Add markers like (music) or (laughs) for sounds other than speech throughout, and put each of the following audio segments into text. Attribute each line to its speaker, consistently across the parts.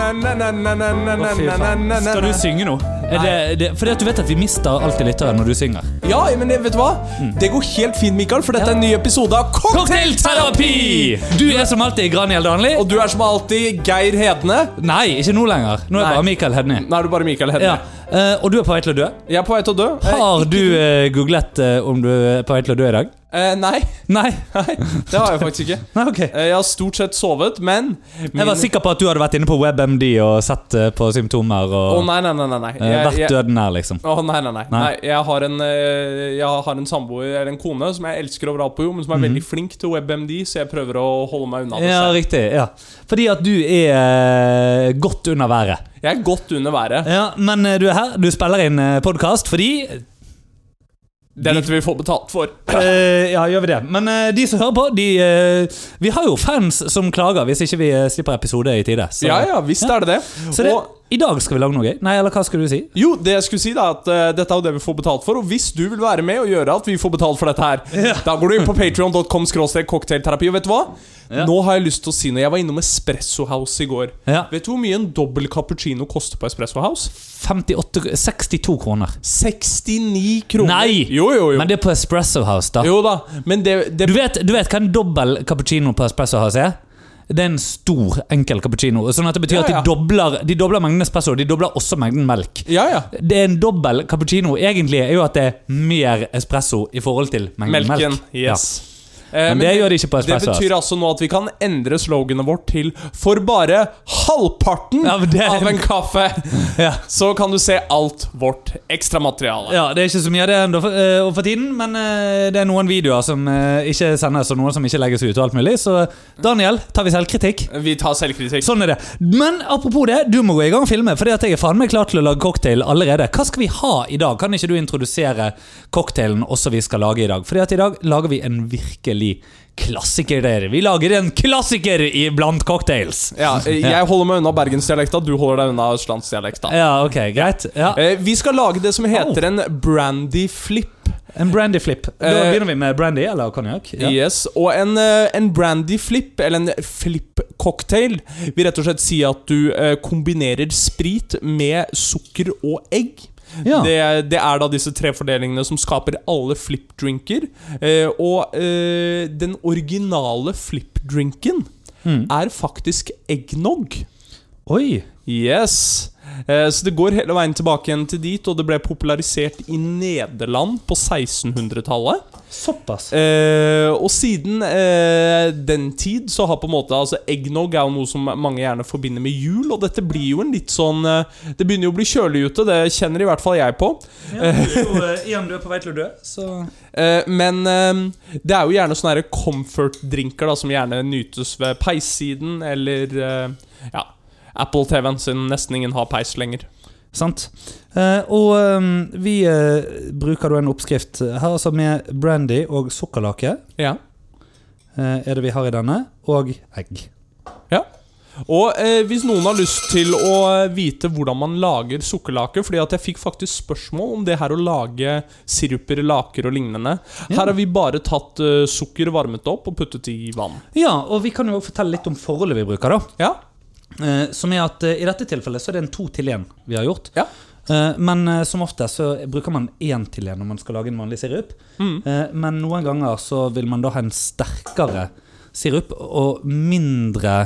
Speaker 1: Å, fy faen. Skal du synge nå? Er det, det, fordi at du vet at vi mister alltid lyttere når du synger.
Speaker 2: Ja, men det, vet du hva?
Speaker 1: Mm.
Speaker 2: Det går helt fint, Mikael, for dette er en ny episode av
Speaker 1: Cocktailterapi! Du er som alltid Graniel Danli.
Speaker 2: Og du er som alltid Geir Hedne.
Speaker 1: Nei, ikke nå lenger. Nå er
Speaker 2: Nei.
Speaker 1: jeg bare Mikael Hedny.
Speaker 2: Nå er du bare Mikael Hedne.
Speaker 1: Ja. eh, og du er på vei til å dø.
Speaker 2: Jeg er på vei til å dø.
Speaker 1: Har du eh, googlet eh, om du er på vei til å dø i dag?
Speaker 2: Eh, nei, (laughs)
Speaker 1: Nei?
Speaker 2: det har jeg faktisk ikke.
Speaker 1: Nei, ok.
Speaker 2: Eh, Jeg har stort sett sovet, men
Speaker 1: Jeg var sikker på at du hadde vært inne på WebMD og sett eh, på symptomer og
Speaker 2: Å nei, nei, nei, nei. nei.
Speaker 1: eh,
Speaker 2: Jeg,
Speaker 1: vært
Speaker 2: jeg,
Speaker 1: døden nær, liksom.
Speaker 2: Å, nei, nei, nei.
Speaker 1: Nei.
Speaker 2: nei jeg, har en, eh, jeg har en samboer, eller en kone, som jeg elsker overalt på jord, men som er veldig flink til WebMD, så jeg prøver å holde meg unna
Speaker 1: Mhm.
Speaker 2: det.
Speaker 1: Ja,
Speaker 2: selv.
Speaker 1: riktig. ja Fordi at du er eh, godt under været.
Speaker 2: Jeg er godt under været.
Speaker 1: Ja, Men eh, du er her. Du spiller inn podkast fordi
Speaker 2: Det er dette vi får betalt for.
Speaker 1: eh, Ja, gjør vi det. Men eh, de som hører på, de eh, Vi har jo fans som klager hvis ikke vi eh, slipper episode i tide. Så,
Speaker 2: Ja, ja, visst er det det.
Speaker 1: så det,
Speaker 2: Og,
Speaker 1: i dag skal vi lage noe gøy. Nei, eller hva skulle du si?
Speaker 2: jo, det jeg skulle si da, at eh, dette er jo det vi får betalt for, og hvis du vil være med og gjøre at vi får betalt for dette her, da går du inn på patreon.com cocktailterapi, og vet du hva?
Speaker 1: Ja.
Speaker 2: Nå har jeg lyst til å si noe. Jeg var innom Espresso House i går.
Speaker 1: Ja.
Speaker 2: Vet du hvor mye en dobbel cappuccino koster på Espresso House?
Speaker 1: 58 62 kroner.
Speaker 2: 69 kroner.
Speaker 1: Nei!
Speaker 2: Jo, jo, jo.
Speaker 1: Men det er på Espresso House, da.
Speaker 2: jo da, men det, det
Speaker 1: Eh, Du vet, du vet hva en dobbel cappuccino på espresso har er? Det er en stor, enkel cappuccino. Sånn at det betyr
Speaker 2: Ja, ja.
Speaker 1: at de dobler, de dobler mengden espresso, de dobler også mengden melk.
Speaker 2: Ja, ja.
Speaker 1: Det er en dobbel cappuccino egentlig er jo at det er mer espresso i forhold til mengden
Speaker 2: Melken.
Speaker 1: melk.
Speaker 2: Yes. Eh,
Speaker 1: Men, det gjør de ikke på
Speaker 2: Det
Speaker 1: espresso.
Speaker 2: betyr altså nå at vi kan endre sloganet vårt til For bare halvparten
Speaker 1: Ja, men det er-
Speaker 2: av en kaffe,
Speaker 1: Ja.
Speaker 2: så kan du se alt vårt ekstramateriale.
Speaker 1: Ja, Det er ikke så mye av det enda for, eh, og for tiden, men eh, det er noen videoer som eh, ikke sendes, og noen som ikke legges ut. og alt mulig Så Daniel, tar vi selvkritikk?
Speaker 2: Vi tar selvkritikk.
Speaker 1: Sånn er det. Men apropos det, du må gå i gang og filme. Fordi at jeg er faen meg klar til å lage cocktail allerede. Hva skal vi ha i dag? Kan ikke du introdusere cocktailen også vi skal lage i dag? Fordi at i dag lager vi en virkelig klassiker. dere. Vi lager en klassiker i blant cocktails.
Speaker 2: Ja, (laughs) eh, jeg holder meg unna bergensdialekta, du holder deg unna østlandsdialekta.
Speaker 1: Ja, ok, greit. Ja.
Speaker 2: Eh, Vi skal lage det som heter en brandy flip.
Speaker 1: En brandy flip. Da
Speaker 2: Eh,
Speaker 1: begynner vi med brandy eller konjakk. Ja.
Speaker 2: Yes, Og en, eh, en brandy flip, eller en flip-cocktail, vil rett og slett si at du eh, kombinerer sprit med sukker og egg.
Speaker 1: Ja.
Speaker 2: Det, det er da disse tre fordelingene som skaper alle flip-drinker. Eh, og eh, den originale flip-drinken
Speaker 1: Mm.
Speaker 2: er faktisk eggnog.
Speaker 1: Oi.
Speaker 2: Yes. Eh, så det går hele veien tilbake igjen til dit, og det ble popularisert i Nederland på 1600-tallet.
Speaker 1: Såpass.
Speaker 2: Eh, og siden eh, den tid så har på en måte altså Eggnog er jo noe som mange gjerne forbinder med jul, og dette blir jo en litt sånn eh, Det begynner jo å bli kjølig ute, det kjenner i hvert fall jeg på.
Speaker 1: Ja, jo, igjen, du er på vei til å dø, så
Speaker 2: Eh, men eh, det er jo gjerne sånne her comfort-drinker da som gjerne nytes ved peissiden, eller eh, ja Apple TV-en, siden nesten ingen har peis lenger.
Speaker 1: Sant. Eh, og eh, vi eh, bruker da en oppskrift her, altså med brandy og sukkerlake.
Speaker 2: Ja.
Speaker 1: eh, er det vi har i denne, og egg.
Speaker 2: Ja. Og eh, hvis noen har lyst til å eh, vite hvordan man lager sukkerlake Fordi at jeg fikk faktisk spørsmål om det her å lage siruper, laker og lignende. Her har vi bare tatt eh, sukker, varmet opp og puttet i vann.
Speaker 1: Ja, og vi kan jo også fortelle litt om forholdet vi bruker, da.
Speaker 2: Ja.
Speaker 1: Eh, som er at eh, i dette tilfellet så er det en to til én vi har gjort.
Speaker 2: Ja.
Speaker 1: Eh, men eh, som ofte så bruker man én til én når man skal lage en vanlig sirup.
Speaker 2: Mm.
Speaker 1: Eh, men noen ganger så vil man da ha en sterkere sirup og mindre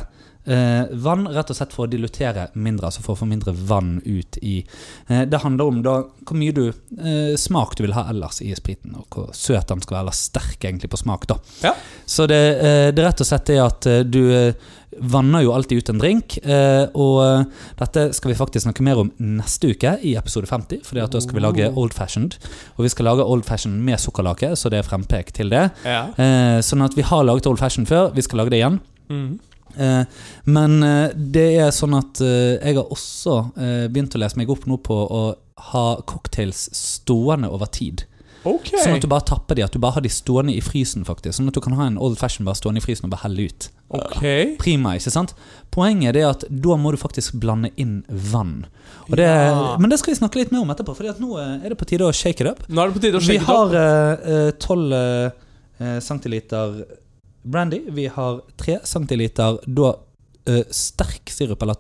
Speaker 1: eh, vann, rett og slett for å dilutere mindre, altså for å få mindre vann ut i eh, Det handler om da hvor mye du, eh, smak du vil ha ellers i spriten, og hvor søt den skal være, eller sterk egentlig på smak. da.
Speaker 2: Ja.
Speaker 1: Så det, eh, det rett og slett er at eh, du eh, vanner jo alltid ut en drink, eh, og eh, dette skal vi faktisk snakke mer om neste uke i episode 50, for da skal vi lage old fashioned. Og vi skal lage old fashioned med sukkerlake, så det er frempek til det.
Speaker 2: ja.
Speaker 1: Eh, sånn at vi har laget old fashioned før, vi skal lage det igjen.
Speaker 2: Mhm.
Speaker 1: Eh, men eh, det er sånn at eh, jeg har også eh, begynt å lese meg opp nå på å ha cocktails stående over tid.
Speaker 2: Ok.
Speaker 1: Sånn at du bare tapper de, at du bare har de stående i frysen faktisk. Sånn at du kan ha en old fashion bare stående i frysen og bare helle ut.
Speaker 2: ok.
Speaker 1: Prima, ikke sant? Poenget er det at da må du faktisk blande inn vann. Og det,
Speaker 2: Ja.
Speaker 1: Men det skal vi snakke litt mer om etterpå, for nå eh, er det på tide å shake it up.
Speaker 2: Nå er det på tide å
Speaker 1: Vi
Speaker 2: sjekke det opp.
Speaker 1: har tolv uh, centiliter brandy. Vi har tre centiliter da eh, sterk sirup, eller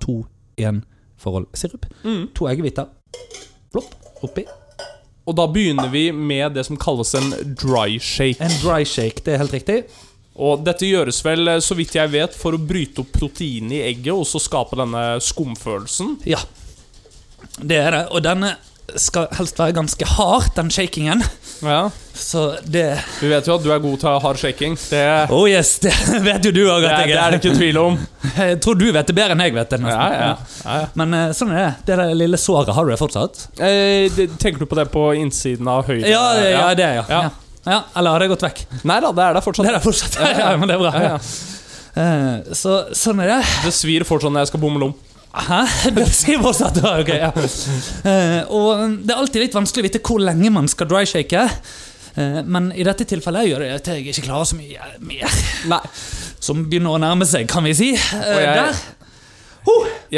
Speaker 1: 2-1-forhold sirup.
Speaker 2: Mm.
Speaker 1: To eggehviter. Plopp oppi.
Speaker 2: Og da begynner vi med det som kalles en dry shake.
Speaker 1: En dry shake, det er helt riktig.
Speaker 2: Og dette gjøres vel, eh, så vidt jeg vet, for å bryte opp proteinet i egget og så skape denne skumfølelsen.
Speaker 1: Ja, det er det. Og denne skal helst være ganske hard, den shakingen.
Speaker 2: Ja.
Speaker 1: Så det
Speaker 2: Vi vet jo at du er god til hard shaking. Det,
Speaker 1: Oh yes, (laughs) det vet jo du òg
Speaker 2: det,
Speaker 1: at
Speaker 2: er-
Speaker 1: jeg
Speaker 2: det er det
Speaker 1: er.
Speaker 2: ikke tvil om.
Speaker 1: Jeg tror du vet det bedre enn jeg vet det. nesten.
Speaker 2: (laughs) Ja, ja, ja, ja.
Speaker 1: Men eh, sånn er det. Det der lille såret har du det fortsatt?
Speaker 2: Eh, det- tenker du på det på innsiden av høyre?
Speaker 1: Ja, ja, ja det, ja.
Speaker 2: Ja.
Speaker 1: ja. ja. Eller har det gått vekk?
Speaker 2: Nei da, det er der fortsatt.
Speaker 1: Det er der fortsatt. Ja, (laughs) ja, men det er bra.
Speaker 2: Ja, ja.
Speaker 1: Eh, Så sånn er det.
Speaker 2: Det svir fortsatt når jeg skal bomme lom.
Speaker 1: Hæ? (laughs) Det sier fortsatt ja, ok, ja. Eh, Og det er alltid litt vanskelig å vite hvor lenge man skal dryshake. Eh, Men i dette tilfellet gjør det at jeg ikke klarer så mye mer.
Speaker 2: (laughs) Nei.
Speaker 1: Som begynner å nærme seg, kan vi si. Eh,
Speaker 2: Og jeg-
Speaker 1: Der.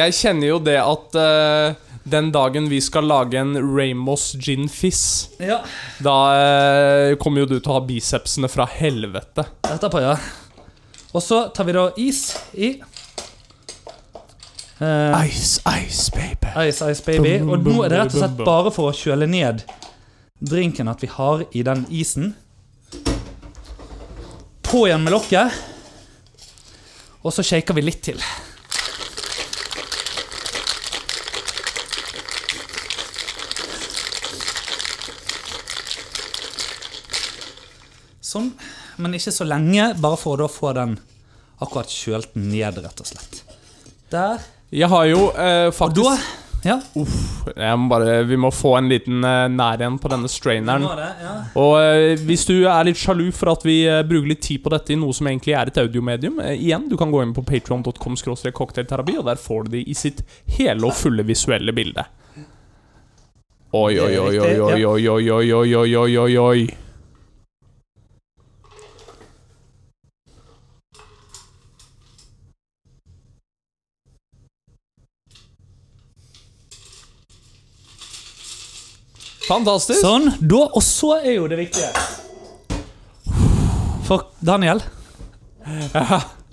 Speaker 2: Jeg kjenner jo det at eh, den dagen vi skal lage en Ramos gin fizz,
Speaker 1: Ja.
Speaker 2: da eh, kommer jo du til å ha bicepsene fra helvete.
Speaker 1: Etterpå, ja. Og så tar vi da is i eh,
Speaker 2: Ice, ice, baby.
Speaker 1: Ice Ice Baby. Og nå er det rett og slett bare for å kjøle ned drinken at vi har i den isen. På igjen med lokket. Og så shaker vi litt til. Sånn, men ikke så lenge, bare for å da få den akkurat kjølt ned, rett og slett. Der.
Speaker 2: Jeg har jo eh,
Speaker 1: Og
Speaker 2: faktisk
Speaker 1: da Ja.
Speaker 2: Uff, jeg må bare, Vi må få en liten eh, nær en på denne straineren.
Speaker 1: Nå er det, ja.
Speaker 2: Og eh, hvis du er litt sjalu for at vi eh, bruker litt tid på dette i noe som egentlig er et audiomedium, eh, igjen, du kan gå inn på patreon.com cocktailterapi, og der får du det i sitt hele og fulle visuelle bilde. Oi, oi, oi, oi, oi, oi, oi, oi, oi, oi, oi, oi, oi. Fantastisk!
Speaker 1: Sånn. Da, og så er jo det viktige For Daniel,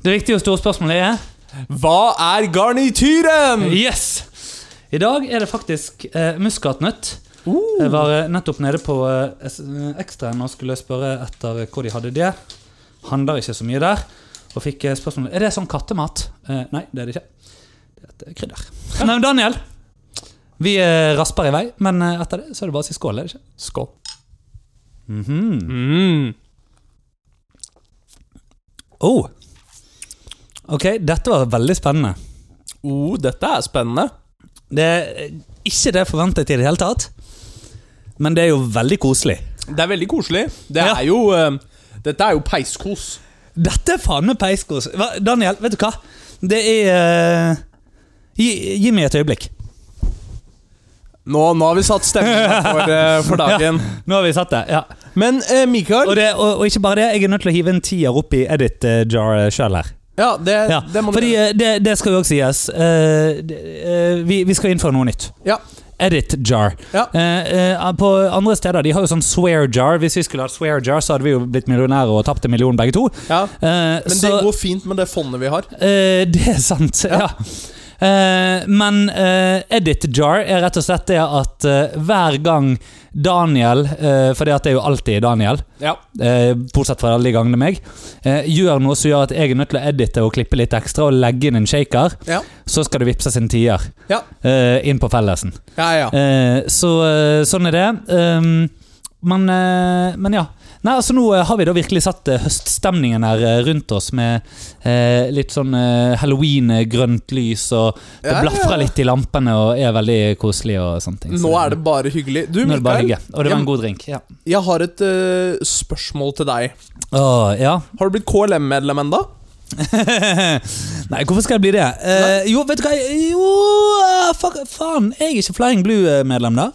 Speaker 1: det viktige og store spørsmålet er
Speaker 2: Hva er garnityren?
Speaker 1: Yes! I dag er det faktisk eh, muskatnøtt.
Speaker 2: Uh,
Speaker 1: Jeg var eh, nettopp nede på eh, S- eh, Ekstraen og skulle spørre etter eh, hvor de hadde det. Handler ikke så mye der. Og fikk eh, spørsmål Er det sånn kattemat. Eh, nei, det er det ikke. Det er eh, krydder. Nei, men Daniel, vi eh, rasper i vei, men eh, etter det så er det bare å si skål. er det ikke?
Speaker 2: Skål.
Speaker 1: Mhm.
Speaker 2: Mm.
Speaker 1: Oh. Ok, dette var veldig spennende.
Speaker 2: Oh, dette er spennende.
Speaker 1: Det er ikke det jeg forventet i det hele tatt, men det er jo veldig koselig.
Speaker 2: Det er veldig koselig. Det
Speaker 1: Ja.
Speaker 2: er jo eh, Dette er jo peiskos.
Speaker 1: Dette er faen meg peiskos. Hva- Daniel, vet du hva? Det er eh, gi, gi meg et øyeblikk.
Speaker 2: Nå, nå har vi
Speaker 1: (laughs)
Speaker 2: satt stemningen for, eh, for dagen.
Speaker 1: Nå har vi satt det. ja.
Speaker 2: Men eh,
Speaker 1: Og,
Speaker 2: Mikael,
Speaker 1: det, og, og ikke bare det, jeg er nødt til å hive en tier opp i edit eh, jar sjøl her.
Speaker 2: ja, det,
Speaker 1: Ja.
Speaker 2: det må du
Speaker 1: Fordi eh, det, det skal jo også sies. eh, det- eh, vi, vi skal innføre noe nytt.
Speaker 2: Ja.
Speaker 1: Edit jar.
Speaker 2: Ja.
Speaker 1: Eh, eh, på andre steder de har jo sånn swear jar. Hvis vi skulle hatt swear jar, så hadde vi jo blitt millionærer og tapt en million begge to.
Speaker 2: ja.
Speaker 1: Eh,
Speaker 2: Men
Speaker 1: så
Speaker 2: det går fint med det fondet vi har.
Speaker 1: eh, det er sant. Ja. Eh, men eh, edit jar er rett og slett det at eh, hver gang Daniel uh, For det at det er jo alltid Daniel,
Speaker 2: Ja.
Speaker 1: eh, bortsett fra alle de gangene meg, eh, gjør noe som gjør at jeg er nødt til å edite og klippe litt ekstra og legge inn en shaker,
Speaker 2: Ja.
Speaker 1: så skal det vippses en tier
Speaker 2: Ja.
Speaker 1: eh, inn på fellesen.
Speaker 2: Ja, ja.
Speaker 1: Eh, så eh, sånn er det. Um, men, eh, men ja. Nei, altså Nå eh, har vi da virkelig satt eh, høststemningen her eh, rundt oss med eh, litt sånn eh, halloween-grønt lys, og det
Speaker 2: Ja, ja.
Speaker 1: blafrer litt i lampene og er veldig koselig og sånne ting.
Speaker 2: Nå er det bare hyggelig. Du,
Speaker 1: Eh, Nå er det bare
Speaker 2: Mikael,
Speaker 1: hygge. Og det var en god drink. Ja.
Speaker 2: jeg har et eh, spørsmål til deg.
Speaker 1: Åh, ja.
Speaker 2: Har du blitt KLM-medlem enda?
Speaker 1: (laughs) Nei, hvorfor skal jeg bli det? Eh, jo, vet du hva Jo, eh, fuck, faen! Jeg er ikke Flying Blue-medlem, da.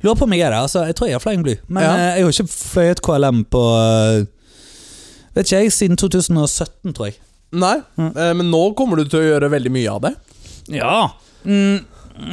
Speaker 1: Lurer på om jeg er det. Altså, jeg tror jeg er Flying Blue, men
Speaker 2: Ja.
Speaker 1: eh, jeg har ikke fløyet KLM på eh, Vet ikke jeg, siden 2017, tror jeg.
Speaker 2: Nei.
Speaker 1: Mm.
Speaker 2: Eh, men nå kommer du til å gjøre veldig mye av det.
Speaker 1: Ja. Mm,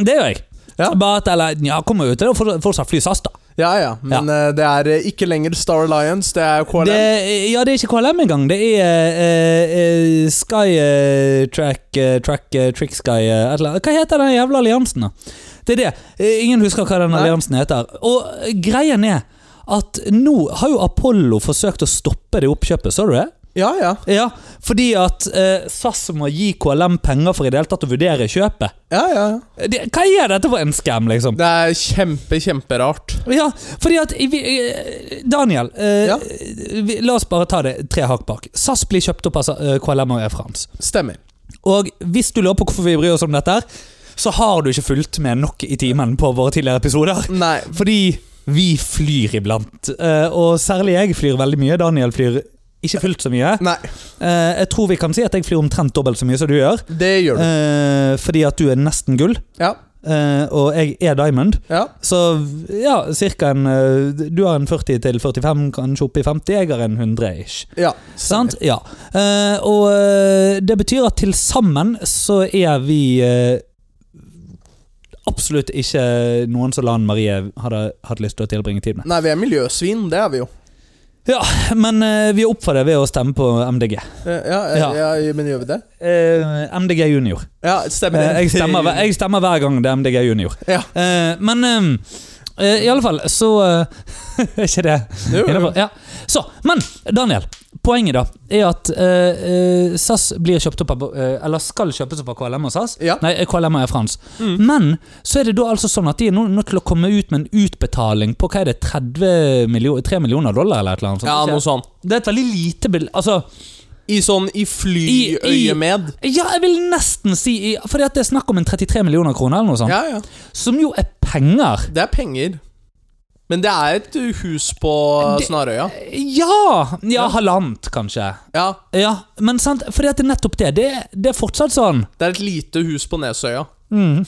Speaker 1: det gjør jeg.
Speaker 2: Ja.
Speaker 1: Bare at, eller, ja, kommer jo til å for- fortsatt fly SAS, da.
Speaker 3: Ja ja, men eh, det er eh, ikke lenger Star Alliance, det er KLM.
Speaker 1: Det, ja, det er ikke KLM engang. Det er eh, eh, Sky eh, Track eh, Track eh, Trick Sky eh, et eller annet. Hva heter den jævla alliansen, da? Det er det. Eh, ingen husker hva den
Speaker 3: Nei.
Speaker 1: alliansen heter. Og greien er at nå har jo Apollo forsøkt å stoppe det oppkjøpet, så du det?
Speaker 3: Ja ja.
Speaker 1: Ja, fordi at eh, SAS må gi KLM penger for i det hele tatt å vurdere kjøpet.
Speaker 3: ja, ja. ja.
Speaker 1: Det, hva er dette for en scam, liksom?
Speaker 3: Det er kjempe, kjemperart.
Speaker 1: Ja, fordi at vi, eh, Daniel, eh,
Speaker 3: Ja.
Speaker 1: vi, la oss bare ta det tre hakk bak. SAS blir kjøpt opp av Sa- eh, KLM og Air France.
Speaker 3: Stemmer.
Speaker 1: Og hvis du lurer på hvorfor vi bryr oss om dette, her, så har du ikke fulgt med nok i timen på våre tidligere episoder.
Speaker 3: Nei.
Speaker 1: Fordi vi flyr iblant. eh, Og særlig jeg flyr veldig mye. Daniel flyr ikke fullt så mye.
Speaker 3: Nei,
Speaker 1: Eh, Jeg tror vi kan si at jeg flyr omtrent dobbelt så mye som du gjør.
Speaker 3: det gjør du.
Speaker 1: eh, Fordi at du er nesten gull,
Speaker 3: Ja.
Speaker 1: eh, og jeg er diamond.
Speaker 3: ja.
Speaker 1: Så ja, cirka en eh, Du har en 40 til 45, kanskje opp i 50. Jeg har en 100 ish.
Speaker 3: ja.
Speaker 1: Sant? Ja. Eh, og eh, det betyr at til sammen så er vi eh, absolutt ikke noen som Lan Marie hadde hatt lyst til å tilbringe tid med.
Speaker 3: Nei, vi er miljøsvin, det er vi jo.
Speaker 1: Ja, (laughs) men eh, vi er opp for det ved å stemme på MDG.
Speaker 3: Eh, Ja, eh, ja.
Speaker 1: Ja.
Speaker 3: men gjør vi det?
Speaker 1: Eh, MDG junior.
Speaker 3: Ja, stemmer det.
Speaker 1: Eh, jeg, stemmer, hver- jeg stemmer hver gang det er MDG junior.
Speaker 3: Ja.
Speaker 1: Eh, men eh, eh, i alle fall, så eh, (laughs) Er ikke det
Speaker 3: Jo, jo.
Speaker 1: Innenfor, ja. Så, men Daniel, poenget da er at eh, eh, SAS blir kjøpt opp av, eh, eller skal kjøpes opp av KLM og SAS.
Speaker 3: Ja.
Speaker 1: Nei, KLM og Air France. Men så er det da altså sånn at de er nå nødt til å komme ut med en utbetaling på hva er det, 30 millioner, 3 millioner dollar eller et eller annet sånt?
Speaker 2: Ja, noe sånn.
Speaker 1: Det er et veldig lite bel... Altså,
Speaker 3: I sånn i flyøyemed.
Speaker 1: ja, jeg vil nesten si i- Fordi at det er snakk om en 33 millioner kroner eller noe sånt.
Speaker 3: Ja, ja.
Speaker 1: Som jo er penger.
Speaker 3: Det er penger. Men det er et hus på
Speaker 1: Det-
Speaker 3: Snarøya.
Speaker 1: Ja! Ja, halvannet, kanskje.
Speaker 3: Ja,
Speaker 1: Ja, men sant, fordi at det er nettopp det. Det, det er fortsatt sånn.
Speaker 3: det er et lite hus på Nesøya.
Speaker 1: Mm.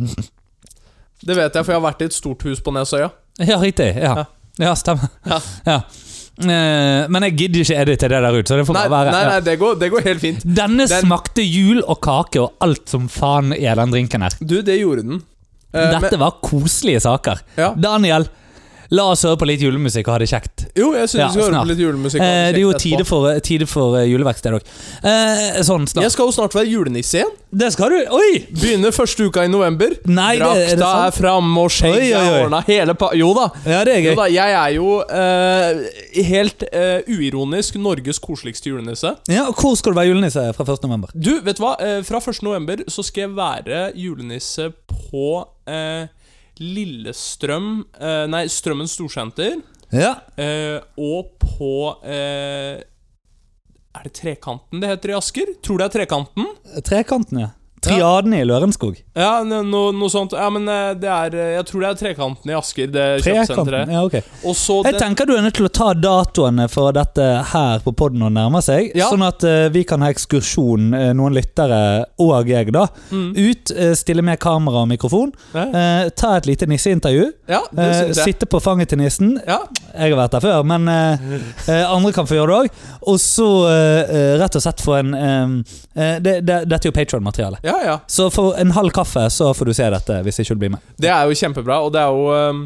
Speaker 3: det vet jeg, for jeg har vært i et stort hus på Nesøya.
Speaker 1: Ja, riktig. Ja, ja stemmer.
Speaker 3: Ja.
Speaker 1: Ja. Eh, men jeg gidder ikke edite det der ut, så det får
Speaker 3: Nei,
Speaker 1: bare
Speaker 3: nei,
Speaker 1: være.
Speaker 3: nei det, går, det går helt fint.
Speaker 1: Denne
Speaker 3: Den-
Speaker 1: smakte jul og kake og alt som faen er den drinken her.
Speaker 3: Du, det gjorde den. Eh,
Speaker 1: Dette
Speaker 3: men,
Speaker 1: var koselige saker.
Speaker 3: Ja.
Speaker 1: Daniel, la oss høre på litt julemusikk og ha det kjekt.
Speaker 3: jo, jeg syns
Speaker 1: Ja,
Speaker 3: vi skal høre
Speaker 1: snart.
Speaker 3: på litt julemusikk.
Speaker 1: Eh, det er jo
Speaker 3: Kjekt
Speaker 1: tide
Speaker 3: etterpå.
Speaker 1: for, tide for eh, juleverksted òg. Eh, sånn snart.
Speaker 3: Jeg skal jo snart være julenisse igjen.
Speaker 1: Det skal du Oi!
Speaker 3: Begynner første uka i november.
Speaker 1: Nei, det, er det
Speaker 3: Drakta er
Speaker 1: sant?
Speaker 3: framme, og skjegget
Speaker 1: Oi, oi,
Speaker 3: er
Speaker 1: oi.
Speaker 3: ordna. Hele pa... Jo da.
Speaker 1: Ja, det er
Speaker 3: Jo
Speaker 1: gøy.
Speaker 3: da, jeg er jo eh, helt eh, uironisk Norges koseligste julenisse.
Speaker 1: Ja, og Hvor skal du være julenisse fra 1. november?
Speaker 2: Du, vet du hva? Eh, Fra 1. november så skal jeg være julenisse på eh, Lillestrøm eh, Nei, Strømmen Storsenter.
Speaker 1: Ja.
Speaker 2: Eh, og på eh, Er det Trekanten det heter i Asker? Tror det er Trekanten.
Speaker 1: Trekanten, ja. Triaden i Lørenskog.
Speaker 2: Ja, no, no, noe sånt. Ja, men eh, det er eh, Jeg tror det er Trekanten i Asker, det
Speaker 1: Trekanten,
Speaker 2: kjøpesenteret.
Speaker 1: ja, ok
Speaker 2: Og så
Speaker 1: Jeg
Speaker 2: den
Speaker 1: tenker du er nødt til å ta datoene for dette her på podden og nærme seg,
Speaker 3: Ja.
Speaker 1: sånn at eh, vi kan ha ekskursjon, eh, noen lyttere og jeg da, ut, eh, stille med kamera og mikrofon,
Speaker 2: Mm. Ja.
Speaker 1: eh, ta et lite nisseintervju,
Speaker 3: Ja, det
Speaker 1: eh,
Speaker 3: syns jeg.
Speaker 1: sitte på fanget til nissen,
Speaker 3: Ja.
Speaker 1: jeg har vært der før, men eh, eh, andre kan få gjøre det òg, og så eh, eh, rett og slett få en eh, eh, det, det, Dette er jo Patron-materiale.
Speaker 3: ja, ja.
Speaker 1: Så for en halv kaffe så får du se dette, hvis ikke du blir med.
Speaker 3: Det er jo kjempebra, og det er jo
Speaker 2: um,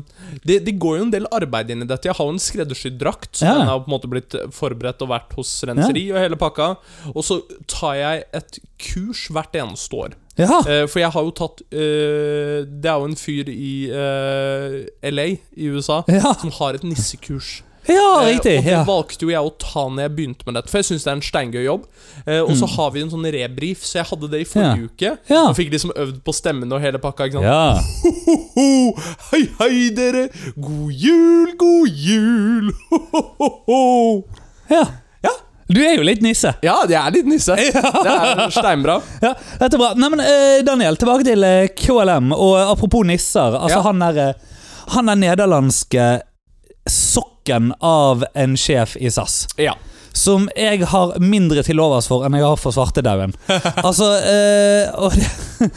Speaker 2: det, det går jo en del arbeid inn i dette. Jeg har jo en skreddersydd drakt. Så
Speaker 1: Ja.
Speaker 2: Den har på en måte blitt forberedt og vært hos renseri og hele pakka. Og så tar jeg et kurs hvert eneste år.
Speaker 1: Ja,
Speaker 2: Eh, for jeg har jo tatt eh, Det er jo en fyr i eh, LA, i USA,
Speaker 1: ja,
Speaker 2: som har et nissekurs.
Speaker 1: ja
Speaker 2: Eh,
Speaker 1: riktig.
Speaker 2: Og det
Speaker 1: Ja.
Speaker 2: valgte jo jeg å ta når jeg begynte med dette, for jeg syns det er en steingøy jobb. Eh, og så har vi en sånn rebrief, så jeg hadde det i forrige
Speaker 1: Mm.
Speaker 2: uke.
Speaker 1: Ja.
Speaker 2: Og fikk liksom øvd på stemmene og hele pakka. ikke sant?
Speaker 1: ja.
Speaker 2: Ho, hei, hei, dere! God jul, god jul! Ho, ho, ho, ho.
Speaker 1: Ja. Du er jo litt nisse.
Speaker 3: Ja, det er litt nisse. Det er steinbra.
Speaker 1: Ja, dette er bra. Nei, men eh, Daniel, tilbake til eh, KLM. Og apropos nisser. Altså,
Speaker 3: Ja.
Speaker 1: han der eh, Han er nederlandske sokken av en sjef i SAS.
Speaker 3: Ja.
Speaker 1: Som jeg har mindre til overs for enn jeg har for
Speaker 2: (laughs)
Speaker 1: svartedauden. Altså eh, og,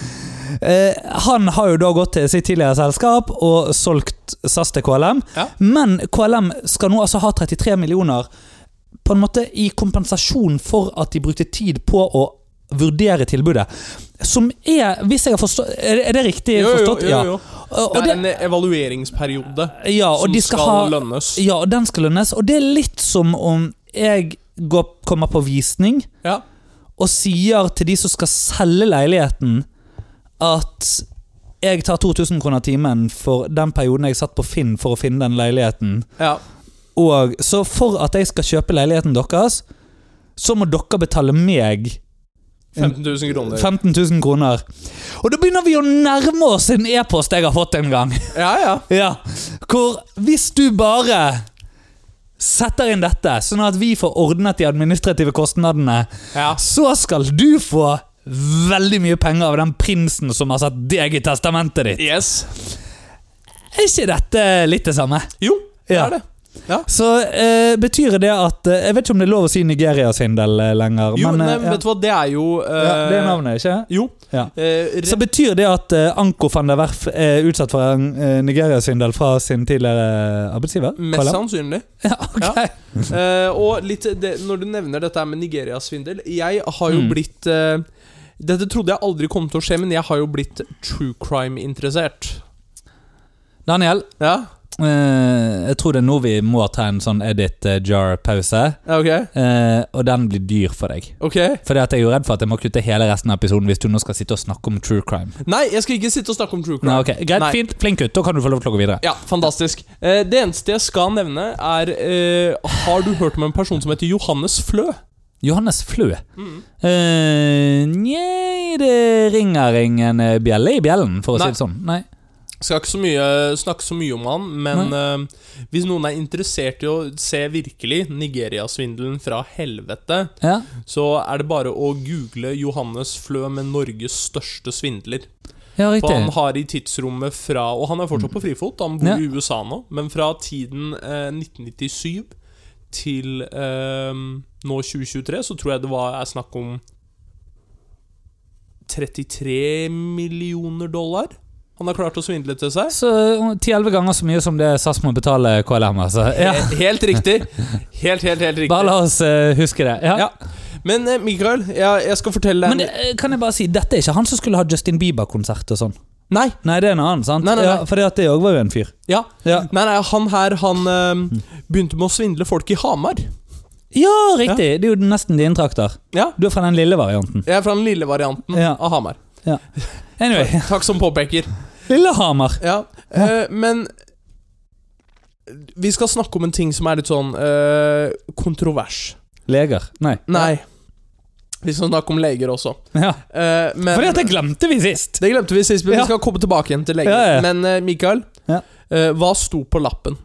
Speaker 1: (laughs) eh, Han har jo da gått til sitt tidligere selskap og solgt SAS til KLM.
Speaker 3: Ja.
Speaker 1: Men KLM skal nå altså ha 33 millioner på en måte i kompensasjon for at de brukte tid på å vurdere tilbudet. Som er Hvis jeg har forstått Er det, er det riktig
Speaker 2: Jo, jo,
Speaker 1: forstått?
Speaker 2: jo, jo.
Speaker 1: Ja. Og, og
Speaker 2: Det er
Speaker 1: det,
Speaker 2: en evalueringsperiode
Speaker 1: ja, og
Speaker 2: som
Speaker 1: de skal,
Speaker 2: skal
Speaker 1: ha
Speaker 2: lønnes.
Speaker 1: Ja, og den skal lønnes. Og det er litt som om jeg går, kommer på visning
Speaker 2: Ja.
Speaker 1: og sier til de som skal selge leiligheten, at jeg tar 2000 kroner timen for den perioden jeg satt på Finn for å finne den leiligheten.
Speaker 2: Ja.
Speaker 1: Og Så for at jeg skal kjøpe leiligheten deres, så må dere betale meg
Speaker 2: 15 000 kroner.
Speaker 1: 15 000 kroner. Og da begynner vi å nærme oss en e-post jeg har fått en gang.
Speaker 2: Ja, ja.
Speaker 1: Ja, hvor hvis du bare setter inn dette, sånn at vi får ordnet de administrative kostnadene,
Speaker 2: ja.
Speaker 1: så skal du få veldig mye penger av den prinsen som har satt deg i testamentet ditt.
Speaker 2: Yes.
Speaker 1: Er ikke dette litt det samme?
Speaker 2: Jo, det
Speaker 1: Ja.
Speaker 2: er det.
Speaker 1: Så eh, betyr det at eh, Jeg vet ikke om det er lov å si Nigeria-svindel eh, lenger,
Speaker 2: Jo,
Speaker 1: men
Speaker 2: nei,
Speaker 1: eh, ja.
Speaker 2: vet du hva, det er jo eh,
Speaker 1: ja, Det er navnet, ikke
Speaker 2: Jo.
Speaker 1: Ja.
Speaker 2: Eh,
Speaker 1: Så betyr det at eh, Anko van der Werf er utsatt for en eh, Nigeria-svindel fra sin tidligere eh, arbeidsgiver?
Speaker 2: Mest
Speaker 1: Karl?
Speaker 2: sannsynlig.
Speaker 1: Ja, ok.
Speaker 2: Ja. Eh, og litt det, når du nevner dette her med Nigeria-svindel Jeg har jo
Speaker 1: Mm.
Speaker 2: blitt eh, Dette trodde jeg aldri kom til å skje, men jeg har jo blitt true crime-interessert.
Speaker 1: Daniel,
Speaker 2: Ja?
Speaker 1: Eh, jeg tror det er nå vi må ta en sånn edit eh, jar-pause.
Speaker 2: ja, ok?
Speaker 1: eh, og den blir dyr for deg.
Speaker 2: Ok
Speaker 1: Fordi at jeg er jo redd for at jeg må kutte hele resten av episoden hvis du nå skal sitte og snakke om true crime.
Speaker 2: Nei, jeg skal ikke sitte og snakke om true crime.
Speaker 1: Nei, ok, Greit,
Speaker 2: Nei.
Speaker 1: fint, flink gutt. Da kan du få lov til å gå videre.
Speaker 2: Ja, fantastisk. Eh, det eneste jeg skal nevne, er eh, Har du hørt om en person som heter Johannes Flø?
Speaker 1: Johannes Flø. Mm. Eh, Njei, det ringer ingen eh, bjelle i bjellen, for å
Speaker 2: Nei.
Speaker 1: si det sånn. Nei.
Speaker 2: Skal ikke så mye, snakke så mye om han, men eh, hvis noen er interessert i å se virkelig Nigeria-svindelen fra helvete,
Speaker 1: Ja.
Speaker 2: så er det bare å google Johannes Flø med Norges største svindler.
Speaker 1: ja,
Speaker 2: For han
Speaker 1: riktig. Mm.
Speaker 2: har i tidsrommet fra Og han er fortsatt på frifot, han bor
Speaker 1: Ja.
Speaker 2: i USA nå, men fra tiden eh, 1997 til eh, nå 2023, så tror jeg det var er snakk om 33 millioner dollar han har klart å svindle til seg.
Speaker 1: Så eh, ti-elleve ganger så mye som det SAS må betale KLM, altså. Ja.
Speaker 2: Eh, Helt
Speaker 1: (laughs)
Speaker 2: riktig. Helt, helt, helt riktig.
Speaker 1: Bare la oss eh, huske det. Ja.
Speaker 2: Ja. Men eh, Mikael, jeg, jeg skal fortelle deg
Speaker 1: Men eh, kan jeg bare si, dette er ikke han som skulle ha Justin Bieber-konsert og sånn.
Speaker 2: Nei,
Speaker 1: Nei, det er en annen, sant?
Speaker 2: Nei, nei, nei.
Speaker 1: Ja, for det at det òg var jo en fyr.
Speaker 2: ja.
Speaker 1: Ja,
Speaker 2: Nei, nei, han her han eh, begynte med å svindle folk i Hamar.
Speaker 1: ja riktig! Det er jo nesten dine trakter.
Speaker 2: Ja.
Speaker 1: Du er fra den lille varianten.
Speaker 2: Jeg er fra den lille varianten
Speaker 1: Ja.
Speaker 2: av Hamar.
Speaker 1: Anyway, (laughs)
Speaker 2: Takk som påpeker.
Speaker 1: Lillehammer.
Speaker 2: Ja. eh, men vi skal snakke om en ting som er litt sånn eh, kontrovers.
Speaker 1: Leger. Nei.
Speaker 2: Nei. Vi skal snakke om leger også.
Speaker 1: Ja.
Speaker 2: Eh, men
Speaker 1: For det glemte vi sist!
Speaker 2: Det glemte vi sist, men
Speaker 1: Ja.
Speaker 2: vi skal komme tilbake igjen til leger.
Speaker 1: Ja, ja.
Speaker 2: Men eh, Mikael,
Speaker 1: Ja.
Speaker 2: eh, hva sto på lappen?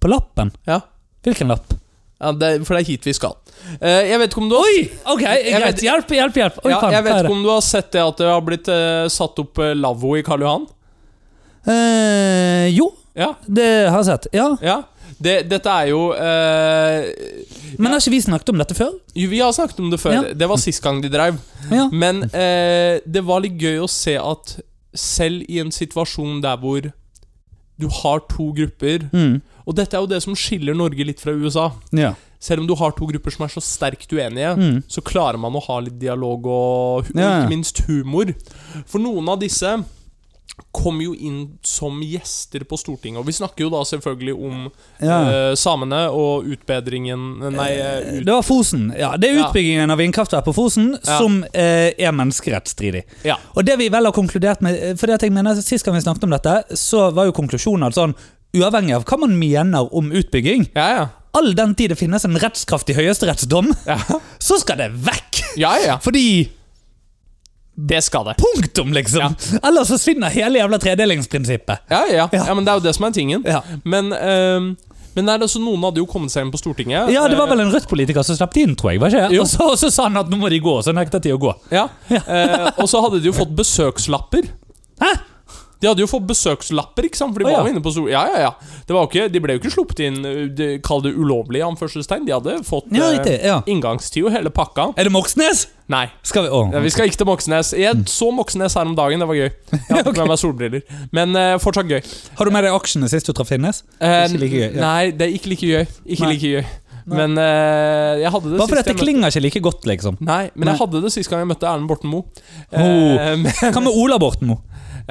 Speaker 1: På lappen.
Speaker 2: Ja.
Speaker 1: Hvilken lapp?
Speaker 2: Ja, det, for det er hit vi skal. Eh, jeg vet ikke om du har Oi!
Speaker 1: Ok,
Speaker 2: Jeg vet-
Speaker 1: greit. Hjelp, hjelp, hjelp! Oi,
Speaker 2: ja,
Speaker 1: faen,
Speaker 2: jeg
Speaker 1: hva
Speaker 2: vet
Speaker 1: er
Speaker 2: ikke
Speaker 1: det?
Speaker 2: om du har sett det at det har blitt eh, satt opp uh, lavvo i Karl Johan?
Speaker 1: Eh, jo,
Speaker 2: Ja.
Speaker 1: det har jeg sett. Ja.
Speaker 2: ja. Det, dette er jo eh,
Speaker 1: Men har ikke vi snakket om dette før?
Speaker 2: jo, Vi har snakket om det før.
Speaker 1: Ja.
Speaker 2: Det var sist gang de dreiv.
Speaker 1: Ja.
Speaker 2: Men eh, det var litt gøy å se at selv i en situasjon der hvor du har to grupper
Speaker 1: Mm.
Speaker 2: Og dette er jo det som skiller Norge litt fra USA.
Speaker 1: ja.
Speaker 2: Selv om du har to grupper som er så sterkt uenige,
Speaker 1: Mm.
Speaker 2: så klarer man å ha litt dialog og, hu- og
Speaker 1: Ja, ja.
Speaker 2: ikke minst humor. For noen av disse kom jo inn som gjester på Stortinget, og vi snakker jo da selvfølgelig om
Speaker 1: ja.
Speaker 2: eh, samene og utbedringen Nei, eh, ut,
Speaker 1: Det var Fosen. Ja, det er
Speaker 2: Ja.
Speaker 1: utbyggingen av vindkraftverk på Fosen
Speaker 2: Ja.
Speaker 1: som eh, er menneskerettsstridig.
Speaker 2: Ja.
Speaker 1: Og det vi vel har konkludert med eh, Fordi at jeg mener Sist gang vi snakket om dette, så var jo konklusjonen at sånn Uavhengig av hva man mener om utbygging,
Speaker 2: ja, ja.
Speaker 1: all den tid det finnes en rettskraftig høyesterettsdom, (laughs) så skal det vekk!
Speaker 2: ja, ja.
Speaker 1: Fordi
Speaker 2: Det skal det.
Speaker 1: Punktum, liksom! Ellers så svinner hele jævla tredelingsprinsippet.
Speaker 2: Ja, ja.
Speaker 1: Ja.
Speaker 2: ja. men det er jo det som er tingen.
Speaker 1: Ja.
Speaker 2: Men, ehm, men det er altså, noen hadde jo kommet seg inn på Stortinget.
Speaker 1: Ja, det var vel en Rødt-politiker som slapp de inn, tror jeg. Var ikke? det?
Speaker 2: Jo.
Speaker 1: Og så, og så sa han at nå må de gå, og så nektet de å gå.
Speaker 2: Eh, Ja. Eh, og så hadde de jo fått besøkslapper.
Speaker 1: Hæ?
Speaker 2: De hadde jo fått besøkslapper, ikke sant? For
Speaker 1: Å,
Speaker 2: de var
Speaker 1: ja.
Speaker 2: jo inne på Stortinget. Ja, ja, ja. Det var jo ikke, de ble jo ikke sluppet inn, eh, de, kall det ulovlig, i anførselstegn. De hadde fått
Speaker 1: Ja,
Speaker 2: eh,
Speaker 1: riktig. Ja.
Speaker 2: inngangstid og hele pakka.
Speaker 1: Er det Moxnes?
Speaker 2: Nei.
Speaker 1: Skal vi Å.
Speaker 2: Ja, vi skal ikke til Moxnes.
Speaker 1: Mm.
Speaker 2: Jeg så Moxnes her om dagen, det var gøy.
Speaker 1: (laughs)
Speaker 2: Jeg hadde ikke med meg solbriller. Men eh, fortsatt gøy.
Speaker 1: Har du med deg aksjene sist du traff Finnes?
Speaker 2: Eh,
Speaker 1: Ikke like gøy, ja.
Speaker 2: Nei, det er ikke like gøy. Ikke
Speaker 1: Nei.
Speaker 2: like gøy.
Speaker 1: Nei.
Speaker 2: Men eh, jeg hadde det
Speaker 1: Bare fordi at det
Speaker 2: sist jeg møtte
Speaker 1: klinger ikke like godt, liksom.
Speaker 2: Nei, men
Speaker 1: Nei.
Speaker 2: jeg hadde det sist gang jeg møtte Erlend Borten Moe. Eh, (laughs)
Speaker 1: Oh.
Speaker 2: men-
Speaker 1: Hva med Ola Borten Moe?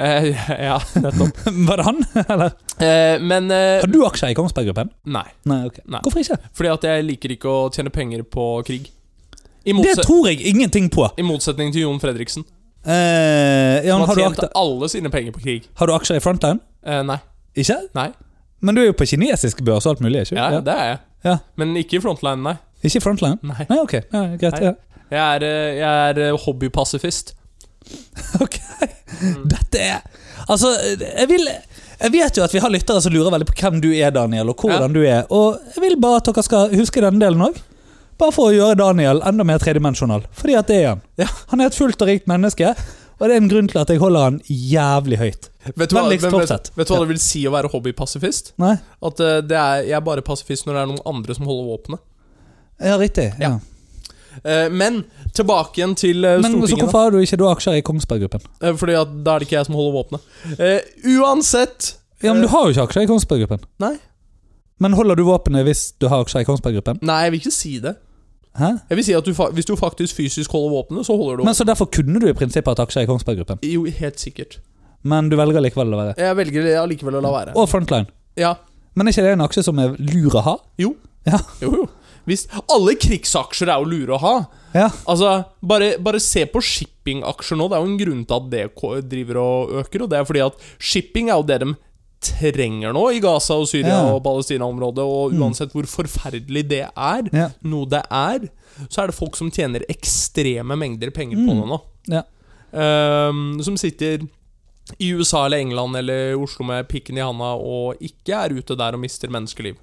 Speaker 1: (laughs)
Speaker 2: eh, ja, nettopp.
Speaker 1: Var det han? Eller?
Speaker 2: Eh, men eh,
Speaker 1: Har du aksjer i Kongsberg Gruppen?
Speaker 2: Nei.
Speaker 1: Nei, ok.
Speaker 2: Nei.
Speaker 1: Hvorfor ikke?
Speaker 2: Fordi at jeg liker ikke å tjene penger på krig.
Speaker 1: Det
Speaker 2: I, motse
Speaker 1: tror jeg ingenting på.
Speaker 2: i motsetning til Jon Fredriksen.
Speaker 1: Eh, Jan,
Speaker 2: Han
Speaker 1: har,
Speaker 2: har
Speaker 1: du
Speaker 2: tjent
Speaker 1: aksjer,
Speaker 2: alle sine penger på krig.
Speaker 1: har du aksjer i Frontline?
Speaker 2: Eh, nei.
Speaker 1: Ikke?
Speaker 2: Nei.
Speaker 1: Men du er jo på kinesisk børs og alt mulig, ikke
Speaker 2: Ja,
Speaker 1: Ja.
Speaker 2: det er jeg.
Speaker 1: Ja.
Speaker 2: Men ikke i frontline, nei.
Speaker 1: Ikke i Frontline?
Speaker 2: nei.
Speaker 1: Nei, ok. Ja, greit.
Speaker 2: Nei.
Speaker 1: Ja. (laughs)
Speaker 2: Jeg er, eh, jeg er eh, hobbypasifist.
Speaker 1: Ok. Dette er Altså, jeg vil Jeg vet jo at vi har lyttere som lurer veldig på hvem du er, Daniel, og hvordan du er. Og jeg vil bare at dere skal huske denne delen òg. Bare for å gjøre Daniel enda mer tredimensjonal. Fordi at det er han.
Speaker 2: Ja.
Speaker 1: Han er et fullt og rikt menneske, og det er en grunn til at jeg holder han jævlig høyt.
Speaker 2: Vet du hva,
Speaker 1: Vennligst
Speaker 2: men vet,
Speaker 1: fortsett.
Speaker 2: vet du hva det vil si å være hobbypasifist?
Speaker 1: Nei?
Speaker 2: At eh, det er, jeg er bare pasifist når det er noen andre som holder våpenet.
Speaker 1: Ja, riktig. Ja.
Speaker 2: Eh, men tilbake igjen til eh,
Speaker 1: Men så
Speaker 2: Stortinget. da.
Speaker 1: hvorfor har du ikke da aksjer i Kongsberg Gruppen?
Speaker 2: Eh, Fordi at da er det ikke jeg som holder våpenet. Eh, uansett
Speaker 1: Ja, men du har jo ikke aksjer i Kongsberg Gruppen.
Speaker 2: Nei.
Speaker 1: Men holder du våpenet hvis du har aksjer i Kongsberg Gruppen?
Speaker 2: Nei, jeg vil ikke si det.
Speaker 1: Hæ?
Speaker 2: Jeg vil si at du, fa- Hvis du faktisk fysisk holder våpenet, så holder du
Speaker 1: Men Så derfor kunne du i prinsippet hatt aksjer i Kongsberg Gruppen,
Speaker 2: Jo, helt sikkert.
Speaker 1: men du velger likevel å være
Speaker 2: Jeg velger det allikevel å la være.
Speaker 1: Og Frontline.
Speaker 2: Ja.
Speaker 1: Men er ikke det en aksje som er lur å ha?
Speaker 2: Jo.
Speaker 1: Ja.
Speaker 2: Jo, jo. Hvis, alle krigsaksjer er jo lure å ha.
Speaker 1: Ja,
Speaker 2: Altså, bare, bare se på shippingaksjer nå. Det er jo en grunn til at det ko- driver og øker. Og det er fordi at shipping er jo det de trenger nå i Gaza og Syria
Speaker 1: Ja. Mm.
Speaker 2: og Palestina-området. Og uansett hvor forferdelig det er,
Speaker 1: ja,
Speaker 2: noe det er, så er det folk som tjener ekstreme mengder penger på
Speaker 1: Mm.
Speaker 2: det nå.
Speaker 1: ja.
Speaker 2: Ehm, som sitter i USA eller England eller Oslo med pikken i handa og ikke er ute der og mister menneskeliv.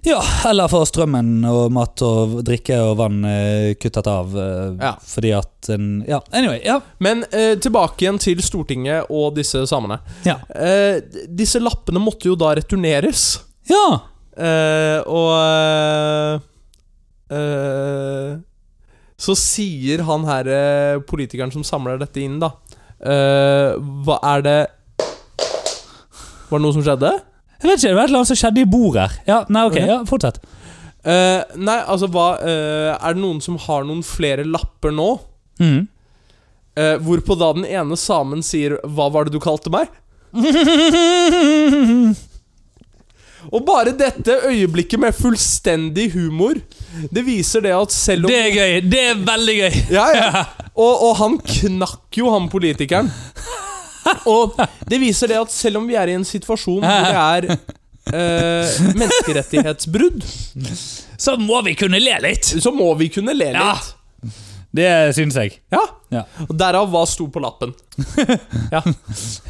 Speaker 1: ja eller for strømmen og mat og drikke og vann eh, kuttet av. eh,
Speaker 2: Ja.
Speaker 1: Fordi at en Ja, anyway. Ja.
Speaker 2: Men eh, tilbake igjen til Stortinget og disse samene.
Speaker 1: Ja.
Speaker 2: Eh, d- disse lappene måtte jo da returneres.
Speaker 1: ja.
Speaker 2: Eh, og eh, eh, Så sier han her eh, politikeren som samler dette inn, da eh, Hva er det Var det noe som skjedde?
Speaker 1: Jeg vet ikke, det var et eller annet som skjedde i bordet her. Ja, nei, ok,
Speaker 2: Ok.
Speaker 1: ja, Fortsett.
Speaker 2: Eh, nei, altså hva eh, Er det noen som har noen flere lapper nå?
Speaker 1: Mm.
Speaker 2: Eh, hvorpå da den ene samen sier 'Hva var det du kalte
Speaker 1: (laughs)
Speaker 2: meg?' Og bare dette øyeblikket med fullstendig humor, det viser det at selv om
Speaker 1: Det er gøy. Det er veldig gøy.
Speaker 2: Ja, ja. Og, og han knakk jo, han politikeren. Og det viser det at selv om vi er i en situasjon hvor det er eh, menneskerettighetsbrudd,
Speaker 1: Så må vi kunne le litt.
Speaker 2: så må vi kunne le
Speaker 1: Ja.
Speaker 2: litt.
Speaker 1: Det syns jeg.
Speaker 2: Ja.
Speaker 1: Ja.
Speaker 2: Og derav hva sto på lappen.
Speaker 1: (laughs) Ja,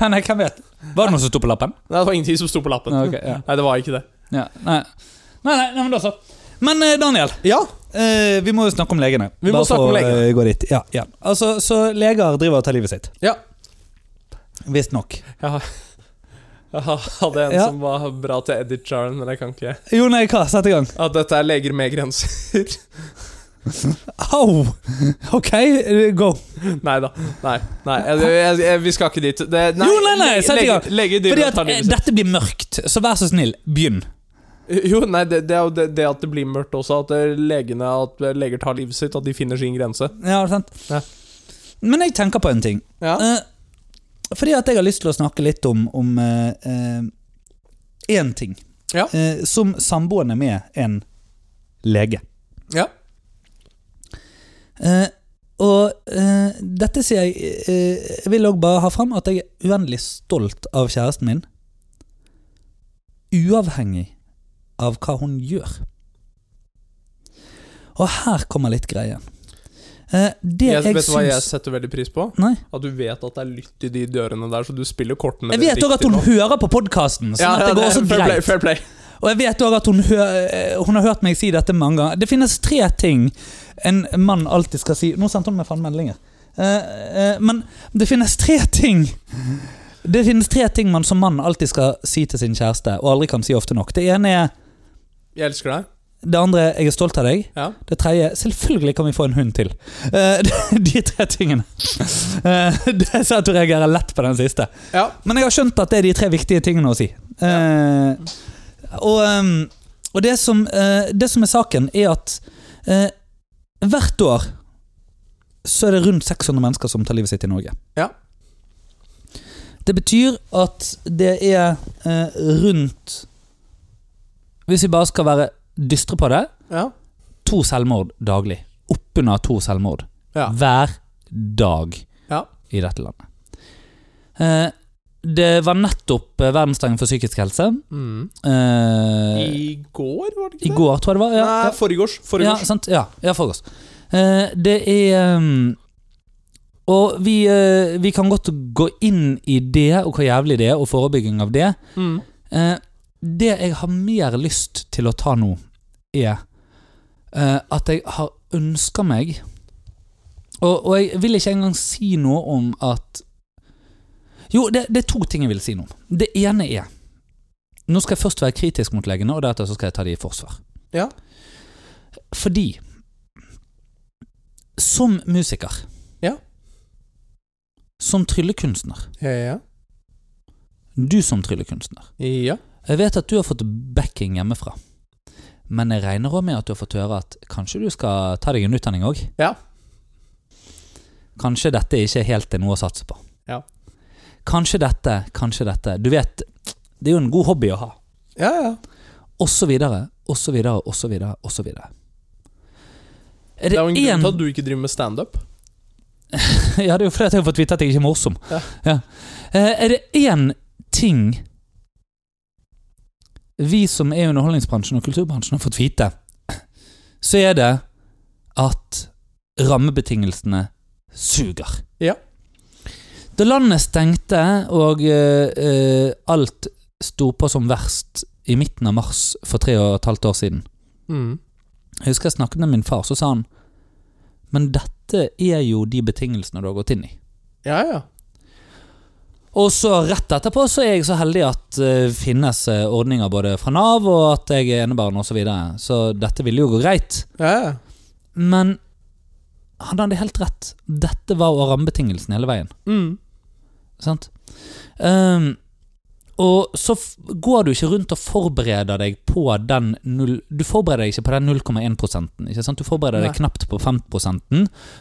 Speaker 1: nei, hvem vet? Var det noe som sto på lappen?
Speaker 2: Nei, det var ingenting som sto på lappen.
Speaker 1: Ja, ok, ja.
Speaker 2: Nei, det var ikke det.
Speaker 1: Ja, nei. Nei, nei, nei, men da så. Men eh, Daniel,
Speaker 2: Ja,
Speaker 1: eh, vi må jo snakke om legene.
Speaker 2: Vi må
Speaker 1: Bare
Speaker 2: snakke om
Speaker 1: for å,
Speaker 2: legene.
Speaker 1: eh, gå dit. Ja, ja. Altså, så leger driver og tar livet sitt.
Speaker 2: Ja.
Speaker 1: Visstnok.
Speaker 2: Jeg har- jeg hadde en
Speaker 1: Ja.
Speaker 2: som var bra til Edith Jarn, men jeg kan ikke
Speaker 1: Jo, nei, hva? Sett i gang.
Speaker 2: At dette er leger med grenser. (laughs)
Speaker 1: Au! Ok, eh, go.
Speaker 2: nei da. Nei, nei jeg, jeg, jeg, vi skal ikke dit. Det,
Speaker 1: Jo, nei, nei, sett i gang.
Speaker 2: Leger, leger
Speaker 1: Fordi
Speaker 2: driver og
Speaker 1: at
Speaker 2: tar
Speaker 1: eh,
Speaker 2: livet sitt.
Speaker 1: dette blir mørkt, så vær så snill, begynn.
Speaker 2: Jo, nei, det, det er jo det, det at det blir mørkt også. At eh, legene, at eh, leger tar livet sitt. At de finner sin grense.
Speaker 1: Ja, sant?
Speaker 2: Ja.
Speaker 1: Men jeg tenker på en ting.
Speaker 2: Ja.
Speaker 1: Eh, fordi at jeg har lyst til å snakke litt om om, eh, eh, én ting.
Speaker 2: Ja.
Speaker 1: Eh, som samboende med en lege.
Speaker 2: Ja.
Speaker 1: Eh, og eh, dette sier jeg eh, Jeg vil òg bare ha fram at jeg er uendelig stolt av kjæresten min. Uavhengig av hva hun gjør. Og her kommer litt greien. Eh, det
Speaker 2: Jeg,
Speaker 1: jeg,
Speaker 2: vet du hva jeg
Speaker 1: syns
Speaker 2: setter veldig pris på?
Speaker 1: Nei.
Speaker 2: At du vet at det er lytt i de dørene der, så du spiller kortene
Speaker 1: Jeg vet òg at hun hører på podkasten, sånn at det går også
Speaker 2: fair play,
Speaker 1: greit.
Speaker 2: fair play.
Speaker 1: Og jeg vet òg at hun, hø eh, hun har hørt meg si dette mange ganger. Det finnes tre ting en mann alltid skal si Nå sendte hun meg faen meldinger. Eh, eh, men det finnes tre ting Det finnes tre ting man som mann alltid skal si til sin kjæreste, og aldri kan si ofte nok. Det ene er
Speaker 2: Jeg elsker deg.
Speaker 1: det andre er, jeg er stolt av deg.
Speaker 2: Ja.
Speaker 1: Det tredje selvfølgelig kan vi få en hund til. Eh, (laughs) de tre tingene. Eh, (laughs) det ser jeg at du reagerer lett på den siste.
Speaker 2: Ja.
Speaker 1: Men jeg har skjønt at det er de tre viktige tingene å si. Eh, og ehm, Og det som, eh, det som er saken, er at eh, hvert år så er det rundt 600 mennesker som tar livet sitt i Norge.
Speaker 3: Ja.
Speaker 1: Det betyr at det er eh, rundt Hvis vi bare skal være dystre på det,
Speaker 3: Ja.
Speaker 1: to selvmord daglig. Oppunder to selvmord.
Speaker 3: Ja.
Speaker 1: Hver dag
Speaker 3: Ja.
Speaker 1: i dette landet. Eh, det var nettopp eh, Verdensdagen for psykisk helse. Eh, I,
Speaker 2: I går, var det ikke det?
Speaker 1: går, tror jeg det var. Ja,
Speaker 2: Nei, forgårs.
Speaker 1: ja,
Speaker 2: Forgårs.
Speaker 1: sant? Ja, ja forgårs. Eh, det er um, Og vi, eh, vi kan godt gå inn i det, og hvor jævlig det er, og forebygging av det.
Speaker 2: Mm.
Speaker 1: Eh, det jeg har mer lyst til å ta nå, er eh, at jeg har ønska meg og, og jeg vil ikke engang si noe om at Jo, det, det er to ting jeg vil si nå. Det ene er Nå skal jeg først være kritisk mot legene, og deretter så skal jeg ta de i forsvar.
Speaker 3: Ja.
Speaker 1: Fordi Som musiker
Speaker 3: Ja.
Speaker 1: Som tryllekunstner
Speaker 3: Ja, ja.
Speaker 1: Du som tryllekunstner
Speaker 3: ja.
Speaker 1: Jeg vet at du har fått backing hjemmefra. Men jeg regner også med at du har fått høre at kanskje du skal ta deg en utdanning òg?
Speaker 3: Ja.
Speaker 1: Kanskje dette ikke helt er noe å satse på.
Speaker 3: Ja.
Speaker 1: Kanskje dette, kanskje dette. Du vet, det er jo en god hobby å ha.
Speaker 3: ja, ja.
Speaker 1: Og så videre, og så videre, og så videre, og så videre. Er
Speaker 3: Det er jo en grunn
Speaker 1: en-
Speaker 3: til at du ikke driver med standup.
Speaker 1: (laughs) Ja, det er jo fordi at jeg har fått vite at jeg ikke er morsom.
Speaker 3: Ja.
Speaker 1: Eh, Er det én ting vi som er i underholdningsbransjen og kulturbransjen har fått vite, så er det at rammebetingelsene suger.
Speaker 3: Ja.
Speaker 1: Da landet stengte og eh, eh, alt sto på som verst i midten av mars for tre og et halvt år siden Jeg husker jeg snakket med min far, så sa han Men dette er jo de betingelsene du har gått inn i.
Speaker 3: Ja, ja.
Speaker 1: Og så rett etterpå så er jeg så heldig at det finnes eh, ordninger både fra Nav og at jeg er enebarn osv. Så, videre. så dette ville jo gå greit.
Speaker 3: Ja, ja.
Speaker 1: Men han hadde helt rett. Dette var jo rammebetingelsen hele veien.
Speaker 3: Mm.
Speaker 1: Sant? Ehm, og så f går du ikke rundt og forbereder deg på den null, Du forbereder deg ikke på den 0,1 ikke sant? Du forbereder
Speaker 3: Nei.
Speaker 1: deg knapt på 5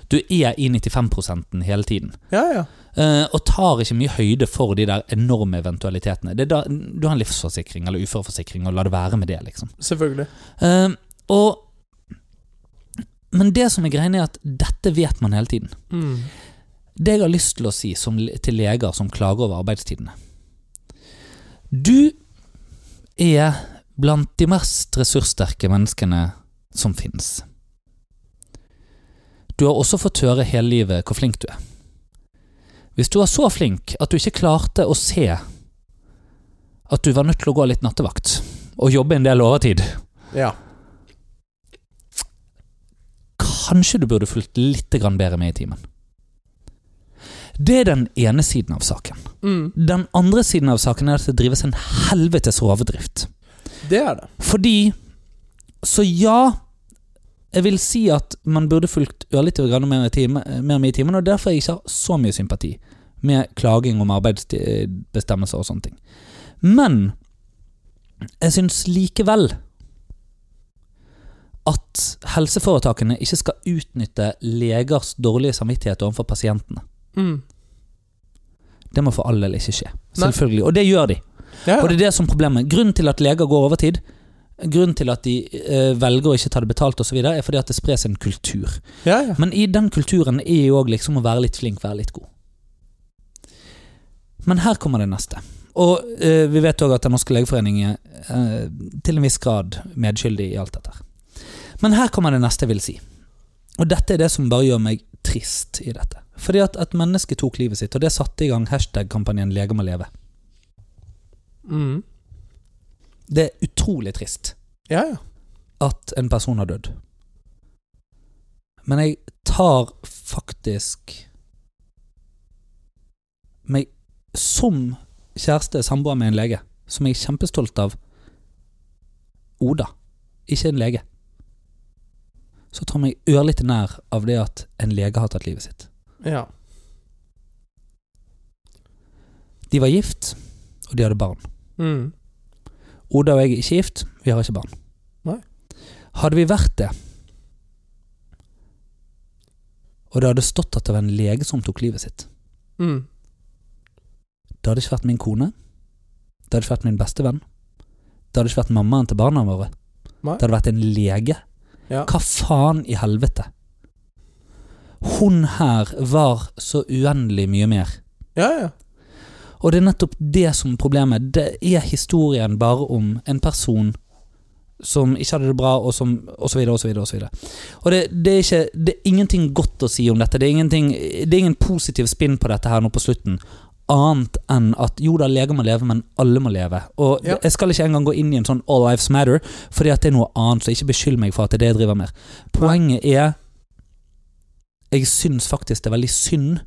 Speaker 1: Du er i 95 hele tiden.
Speaker 3: Ja, ja.
Speaker 1: Eh, og tar ikke mye høyde for de der enorme eventualitetene. Det er da, du har en livsforsikring eller uføreforsikring, og la det være med det, liksom.
Speaker 3: Selvfølgelig.
Speaker 1: Eh, og, men det som er greia, er at dette vet man hele tiden. Det jeg har lyst til å si som, til leger som klager over arbeidstidene Du er blant de mest ressurssterke menneskene som finnes. Du har også fått høre hele livet hvor flink du er. Hvis du var så flink at du ikke klarte å se at du var nødt til å gå litt nattevakt og jobbe en del overtid,
Speaker 3: Ja.
Speaker 1: kanskje du burde fulgt litt grann bedre med i timen. Det er den ene siden av saken.
Speaker 3: Mm.
Speaker 1: Den andre siden av saken er at det drives en helvetes rovdrift.
Speaker 3: Det er det.
Speaker 1: Fordi Så ja, jeg vil si at man burde fulgt ørlite grann mer, i time, mer med i timen, og derfor jeg ikke har så mye sympati med klaging om arbeidsbestemmelser og sånne ting. Men jeg syns likevel at helseforetakene ikke skal utnytte legers dårlige samvittighet overfor pasientene. Det må for all del ikke skje.
Speaker 3: Nei.
Speaker 1: Selvfølgelig. Og det gjør de.
Speaker 3: Ja,
Speaker 1: Og
Speaker 3: ja.
Speaker 1: det er det som er problemet. Grunnen til at leger går overtid, grunnen til at de eh, velger å ikke ta det betalt osv., er fordi at det spres en kultur.
Speaker 3: ja, ja.
Speaker 1: Men i den kulturen er jo òg liksom å være litt flink, være litt god. Men her kommer det neste. Og eh, vi vet òg at Den norske legeforening er eh, til en viss grad medskyldig i alt dette. her. Men her kommer det neste jeg vil si. Og dette er det som bare gjør meg trist i dette. Fordi at et menneske tok livet sitt, og det satte i gang hashtag-kampanjen 'Leger må leve'.
Speaker 3: Mm.
Speaker 1: Det er utrolig trist
Speaker 3: Ja, ja.
Speaker 1: at en person har dødd. Men jeg tar faktisk meg som kjæreste, samboer med en lege, som jeg er kjempestolt av. Oda, ikke en lege. Så tar meg ørlite nær av det at en lege har tatt livet sitt.
Speaker 3: Ja.
Speaker 1: De var gift, og de hadde barn.
Speaker 3: Mm.
Speaker 1: Oda og jeg er ikke gift, vi har ikke barn. Hadde vi vært det, og det hadde stått at det var en lege som tok livet sitt,
Speaker 2: Mm.
Speaker 1: det hadde ikke vært min kone, det hadde ikke vært min bestevenn, det hadde ikke vært mammaen til barna våre,
Speaker 2: Nei.
Speaker 1: det hadde vært en lege.
Speaker 2: Ja.
Speaker 1: Hva faen i helvete? Hun her var så uendelig mye mer.
Speaker 2: Ja, ja.
Speaker 1: Og det er nettopp det som er problemet. Det er historien bare om en person som ikke hadde det bra, og som Og så videre, og så videre. Og, så videre. og det, det, er ikke, det er ingenting godt å si om dette. Det er, ingenting- det er ingen positiv spinn på dette her nå på slutten. Annet enn at jo da, leger må leve, men alle må leve. Og
Speaker 2: Ja.
Speaker 1: jeg skal ikke engang gå inn i en sånn All lives matter, fordi at det er noe annet, så ikke beskyld meg for at det er det jeg driver med. Poenget er Jeg syns faktisk det er veldig synd,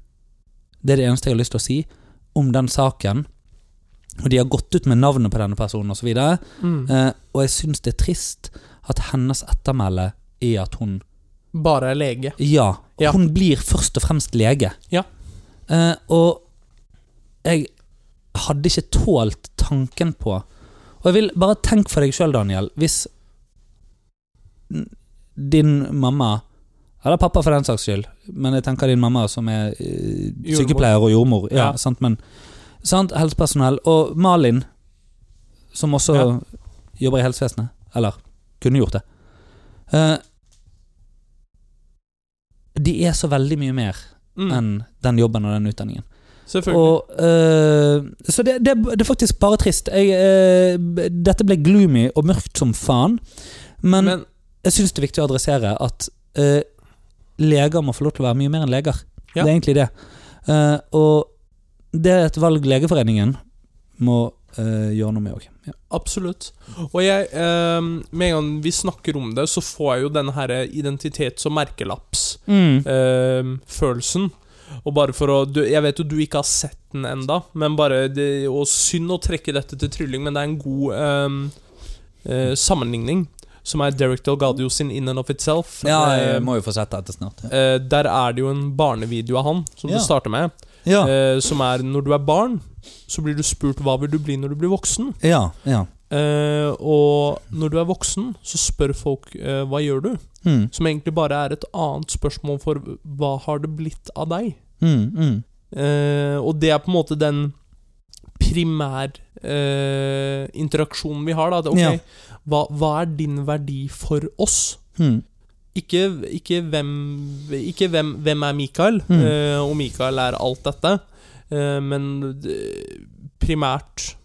Speaker 1: det er det eneste jeg har lyst til å si, om den saken. Og de har gått ut med navnet på denne personen osv. videre
Speaker 2: Mm.
Speaker 1: Eh, og jeg syns det er trist at hennes ettermæle er at hun
Speaker 2: Bare er lege.
Speaker 1: Ja,
Speaker 2: Ja.
Speaker 1: hun blir først og fremst lege.
Speaker 2: Ja.
Speaker 1: Eh, og jeg hadde ikke tålt tanken på Og jeg vil bare tenk for deg sjøl, Daniel, hvis n- din mamma eller pappa, for den saks skyld, men jeg tenker din mamma som er eh,
Speaker 2: Jordmor.
Speaker 1: sykepleier og jordmor. Ja,
Speaker 2: Ja.
Speaker 1: sant, men sant, Helsepersonell. Og Malin, som også
Speaker 2: Ja.
Speaker 1: jobber i helsevesenet. Eller kunne gjort det. Eh, de er så veldig mye mer
Speaker 2: Mm.
Speaker 1: enn den jobben og den utdanningen.
Speaker 2: Selvfølgelig.
Speaker 1: Og, eh, så det, det, det er faktisk bare trist. Jeg, eh, b- dette ble gloomy og mørkt som faen. Men,
Speaker 2: Men
Speaker 1: jeg syns det er viktig å adressere at eh, leger må få lov til å være mye mer enn leger.
Speaker 2: Ja.
Speaker 1: Det er egentlig det. Eh, og det er et valg Legeforeningen må eh, gjøre noe med òg. Ja.
Speaker 2: Absolutt. Og jeg, eh, med en gang vi snakker om det, så får jeg jo denne her identitets- og
Speaker 1: Mm.
Speaker 2: merkelapps-følelsen. ehm, og bare for å du, Jeg vet jo du ikke har sett den enda men bare det, Og synd å trekke dette til trylling, men det er en god eh, eh, sammenligning, som er Derek Delgadio sin In and of Itself.
Speaker 1: ja,
Speaker 2: Eh,
Speaker 1: jeg må jo få sett dette snart. Ja.
Speaker 2: eh, der er det jo en barnevideo av han, som
Speaker 1: Ja.
Speaker 2: det starter med.
Speaker 1: Ja,
Speaker 2: eh, som er når du er barn, så blir du spurt hva vil du bli når du blir voksen.
Speaker 1: ja, ja.
Speaker 2: Eh, og når du er voksen, så spør folk eh, hva gjør du?
Speaker 1: Mm,
Speaker 2: Som egentlig bare er et annet spørsmål for hva har det blitt av deg?
Speaker 1: mm, mm.
Speaker 2: Eh, og det er på en måte den primær eh, interaksjonen vi har. Da. At, ok,
Speaker 1: Ja.
Speaker 2: hva, hva er din verdi for oss?
Speaker 1: Mm.
Speaker 2: Ikke, ikke, hvem, ikke hvem, hvem er Mikael,
Speaker 1: Mm.
Speaker 2: eh, og Mikael er alt dette, eh, men eh, primært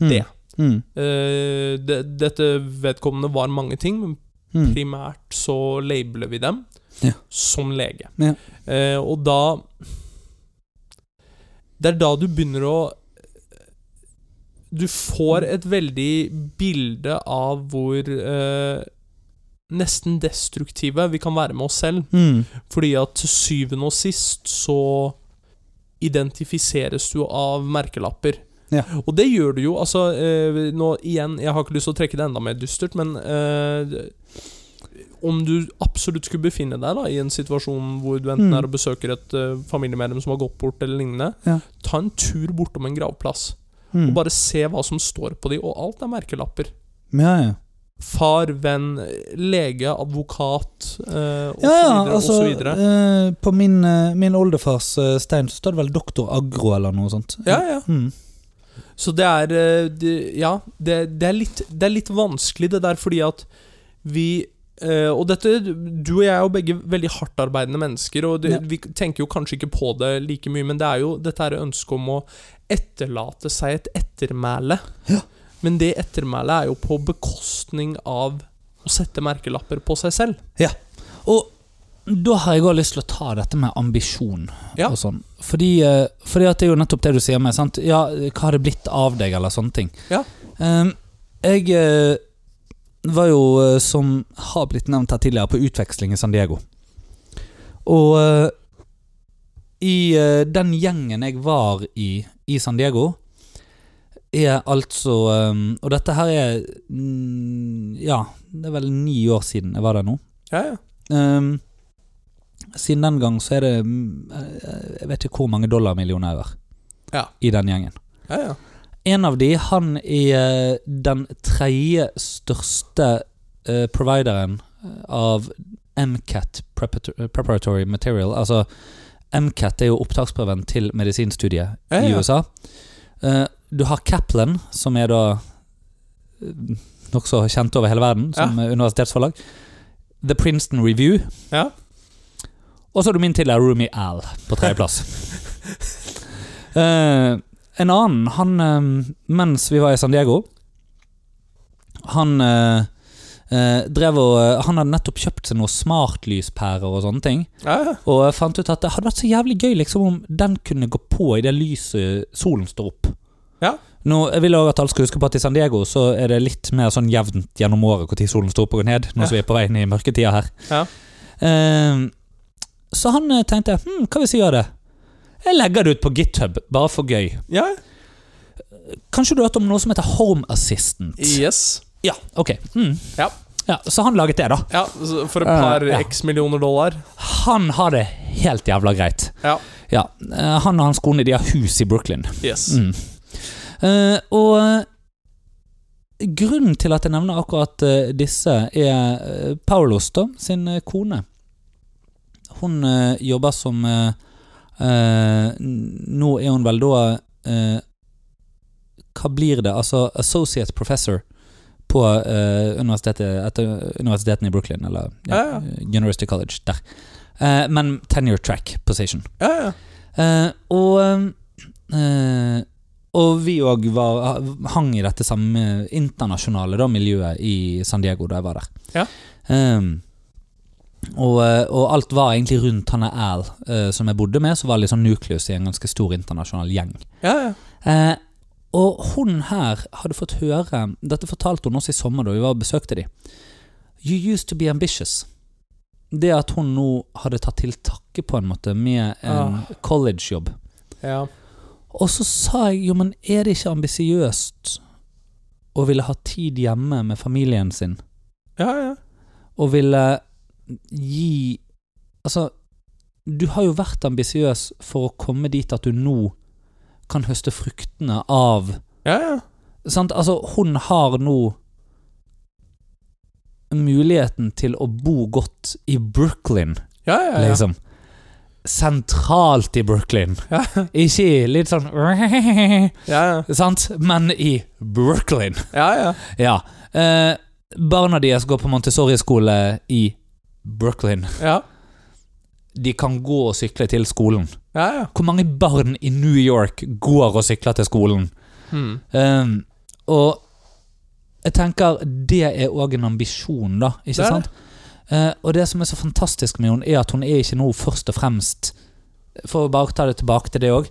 Speaker 1: Mm.
Speaker 2: Det.
Speaker 1: Mm.
Speaker 2: Eh, det, dette vedkommende var mange ting, men
Speaker 1: Mm.
Speaker 2: primært så labeler vi dem
Speaker 1: Ja.
Speaker 2: som lege.
Speaker 1: Ja.
Speaker 2: Eh, og da Det er da du begynner å Du får et veldig bilde av hvor eh, nesten destruktive vi kan være med oss selv.
Speaker 1: Mm.
Speaker 2: Fordi at til syvende og sist så identifiseres du av merkelapper.
Speaker 1: Ja.
Speaker 2: Og det gjør du jo. Altså, eh, nå igjen, jeg har ikke lyst til å trekke det enda mer dystert, men eh, om du absolutt skulle befinne deg da i en situasjon hvor du enten
Speaker 1: Mm.
Speaker 2: er og besøker et eh, familiemedlem som har gått bort, eller lignende,
Speaker 1: Ja.
Speaker 2: ta en tur bortom en gravplass
Speaker 1: Mm.
Speaker 2: og bare se hva som står på de, og alt er merkelapper.
Speaker 1: Ja, ja.
Speaker 2: Far, venn, lege, advokat, eh, og
Speaker 1: Ja, ja,
Speaker 2: så videre, og
Speaker 1: altså
Speaker 2: så videre.
Speaker 1: eh, På min, eh, min oldefars eh, stein så står det vel doktor Agro eller noe sånt.
Speaker 2: Ja, ja.
Speaker 1: Mm.
Speaker 2: Så det er eh, det, Ja, det, det, er litt, det er litt vanskelig, det der, fordi at vi eh, Og dette Du og jeg er jo begge veldig hardtarbeidende mennesker, og det,
Speaker 1: Ja.
Speaker 2: vi tenker jo kanskje ikke på det like mye, men det er jo dette her ønsket om å etterlate seg et ettermæle.
Speaker 1: Ja.
Speaker 2: Men det ettermælet er jo på bekostning av å sette merkelapper på seg selv.
Speaker 1: Og da har jeg òg lyst til å ta dette med ambisjon
Speaker 2: Ja.
Speaker 1: og sånn. Fordi, eh, fordi at det er jo nettopp det du sier med sant? Ja, hva har det blitt av deg, eller sånne ting.
Speaker 2: Ja.
Speaker 1: Ehm, jeg eh, var jo, eh, som har blitt nevnt her tidligere, på utveksling i San Diego. Og eh, i eh, den gjengen jeg var i i San Diego, er altså eh, Og dette her er mm, Ja, det er vel ni år siden jeg var der nå.
Speaker 2: Ja, ja.
Speaker 1: Ehm, siden den gang så er det mm, eh, Jeg vet ikke hvor mange dollarmillionærer
Speaker 2: Ja.
Speaker 1: i den gjengen.
Speaker 2: ja, ja.
Speaker 1: En av de, han er den tredje eh, største eh, provideren av MCAT prepator- eh, Preparatory Material Altså MCAT er jo opptaksprøven til medisinstudiet
Speaker 2: Ja,
Speaker 1: i
Speaker 2: ja.
Speaker 1: USA. Eh, du har Kaplan, som er da eh, nokså kjent over hele verden som eh, universitetsforlag. The Princeton Review.
Speaker 2: Ja.
Speaker 1: Og så har du min tidligere roomie Al på tredjeplass. Eh, en annen, han eh, Mens vi var i San Diego Han eh, eh, drev og eh, Han hadde nettopp kjøpt seg noen smartlyspærer og sånne ting.
Speaker 2: Ja, ja.
Speaker 1: Og jeg fant ut at det hadde vært så jævlig gøy liksom, om den kunne gå på i det lyset solen står opp.
Speaker 2: Ja.
Speaker 1: Nå, jeg vil også at alle skal huske på at I San Diego så er det litt mer sånn jevnt gjennom året når solen står opp og går ned. Nå
Speaker 2: Ja.
Speaker 1: som vi er på vei inn i mørketida her.
Speaker 2: Ja.
Speaker 1: Eh, så han eh, tenkte hm, hva hvis jeg gjør det? Jeg legger det ut på GitHub, bare for gøy.
Speaker 2: ja.
Speaker 1: Kanskje du har hørt om noe som heter Home Assistant?
Speaker 2: Yes.
Speaker 1: Ja, ok. Mm.
Speaker 2: Ja.
Speaker 1: ja. Så han laget det, da.
Speaker 2: Ja, så for et par
Speaker 1: Eh, ja.
Speaker 2: x millioner dollar.
Speaker 1: Han har det helt jævla greit.
Speaker 2: Ja.
Speaker 1: Ja, eh, Han og hans kone de har hus i Brooklyn.
Speaker 2: Yes.
Speaker 1: Mm. Eh, og eh, grunnen til at jeg nevner akkurat eh, disse, er eh, Paulos, da, sin eh, kone. Hun eh, jobber som eh, eh, n- Nå er hun vel da eh, Hva blir det? Altså associate professor på eh, universitetet, etter universiteten i Brooklyn, eller ja,
Speaker 2: Ja, ja.
Speaker 1: University College der. Eh, men tenure track position.
Speaker 2: Ja, ja.
Speaker 1: Eh, og eh, Og vi òg var- hang i dette samme internasjonale da, miljøet i San Diego da jeg var der.
Speaker 2: Ja.
Speaker 1: Eh, og, eh, og alt var egentlig rundt han er Al, eh, som jeg bodde med, som var litt sånn nukleus i en ganske stor internasjonal gjeng.
Speaker 2: ja, ja.
Speaker 1: Eh, og hun her hadde fått høre Dette fortalte hun også i sommer da vi var og besøkte de You used to be ambitious. Det at hun nå hadde tatt til takke på en måte med en collegejobb.
Speaker 2: ja.
Speaker 1: Og så sa jeg jo, men er det ikke ambisiøst å ville ha tid hjemme med familien sin,
Speaker 2: ja, ja.
Speaker 1: og ville gi Altså, du har jo vært ambisiøs for å komme dit at du nå kan høste fruktene av
Speaker 2: ja, ja.
Speaker 1: sant? Altså, hun har nå muligheten til å bo godt i Brooklyn,
Speaker 2: Ja, ja, ja.
Speaker 1: liksom. Sentralt i Brooklyn.
Speaker 2: Ja.
Speaker 1: Ikke i litt sånn
Speaker 2: Ja, ja.
Speaker 1: sant? Men i Brooklyn.
Speaker 2: ja, ja.
Speaker 1: Ja. Eh, barna deres går på Montessori-skole i Brooklyn.
Speaker 2: ja.
Speaker 1: De kan gå og sykle til skolen.
Speaker 2: ja, ja.
Speaker 1: Hvor mange barn i New York går og sykler til skolen?
Speaker 2: Hmm.
Speaker 1: Ehm, og jeg tenker det er òg en ambisjon, da. Ikke
Speaker 2: Det er
Speaker 1: sant? Eh, og det som er så fantastisk med henne, er at hun er ikke nå først og fremst For å bare ta det tilbake til det òg.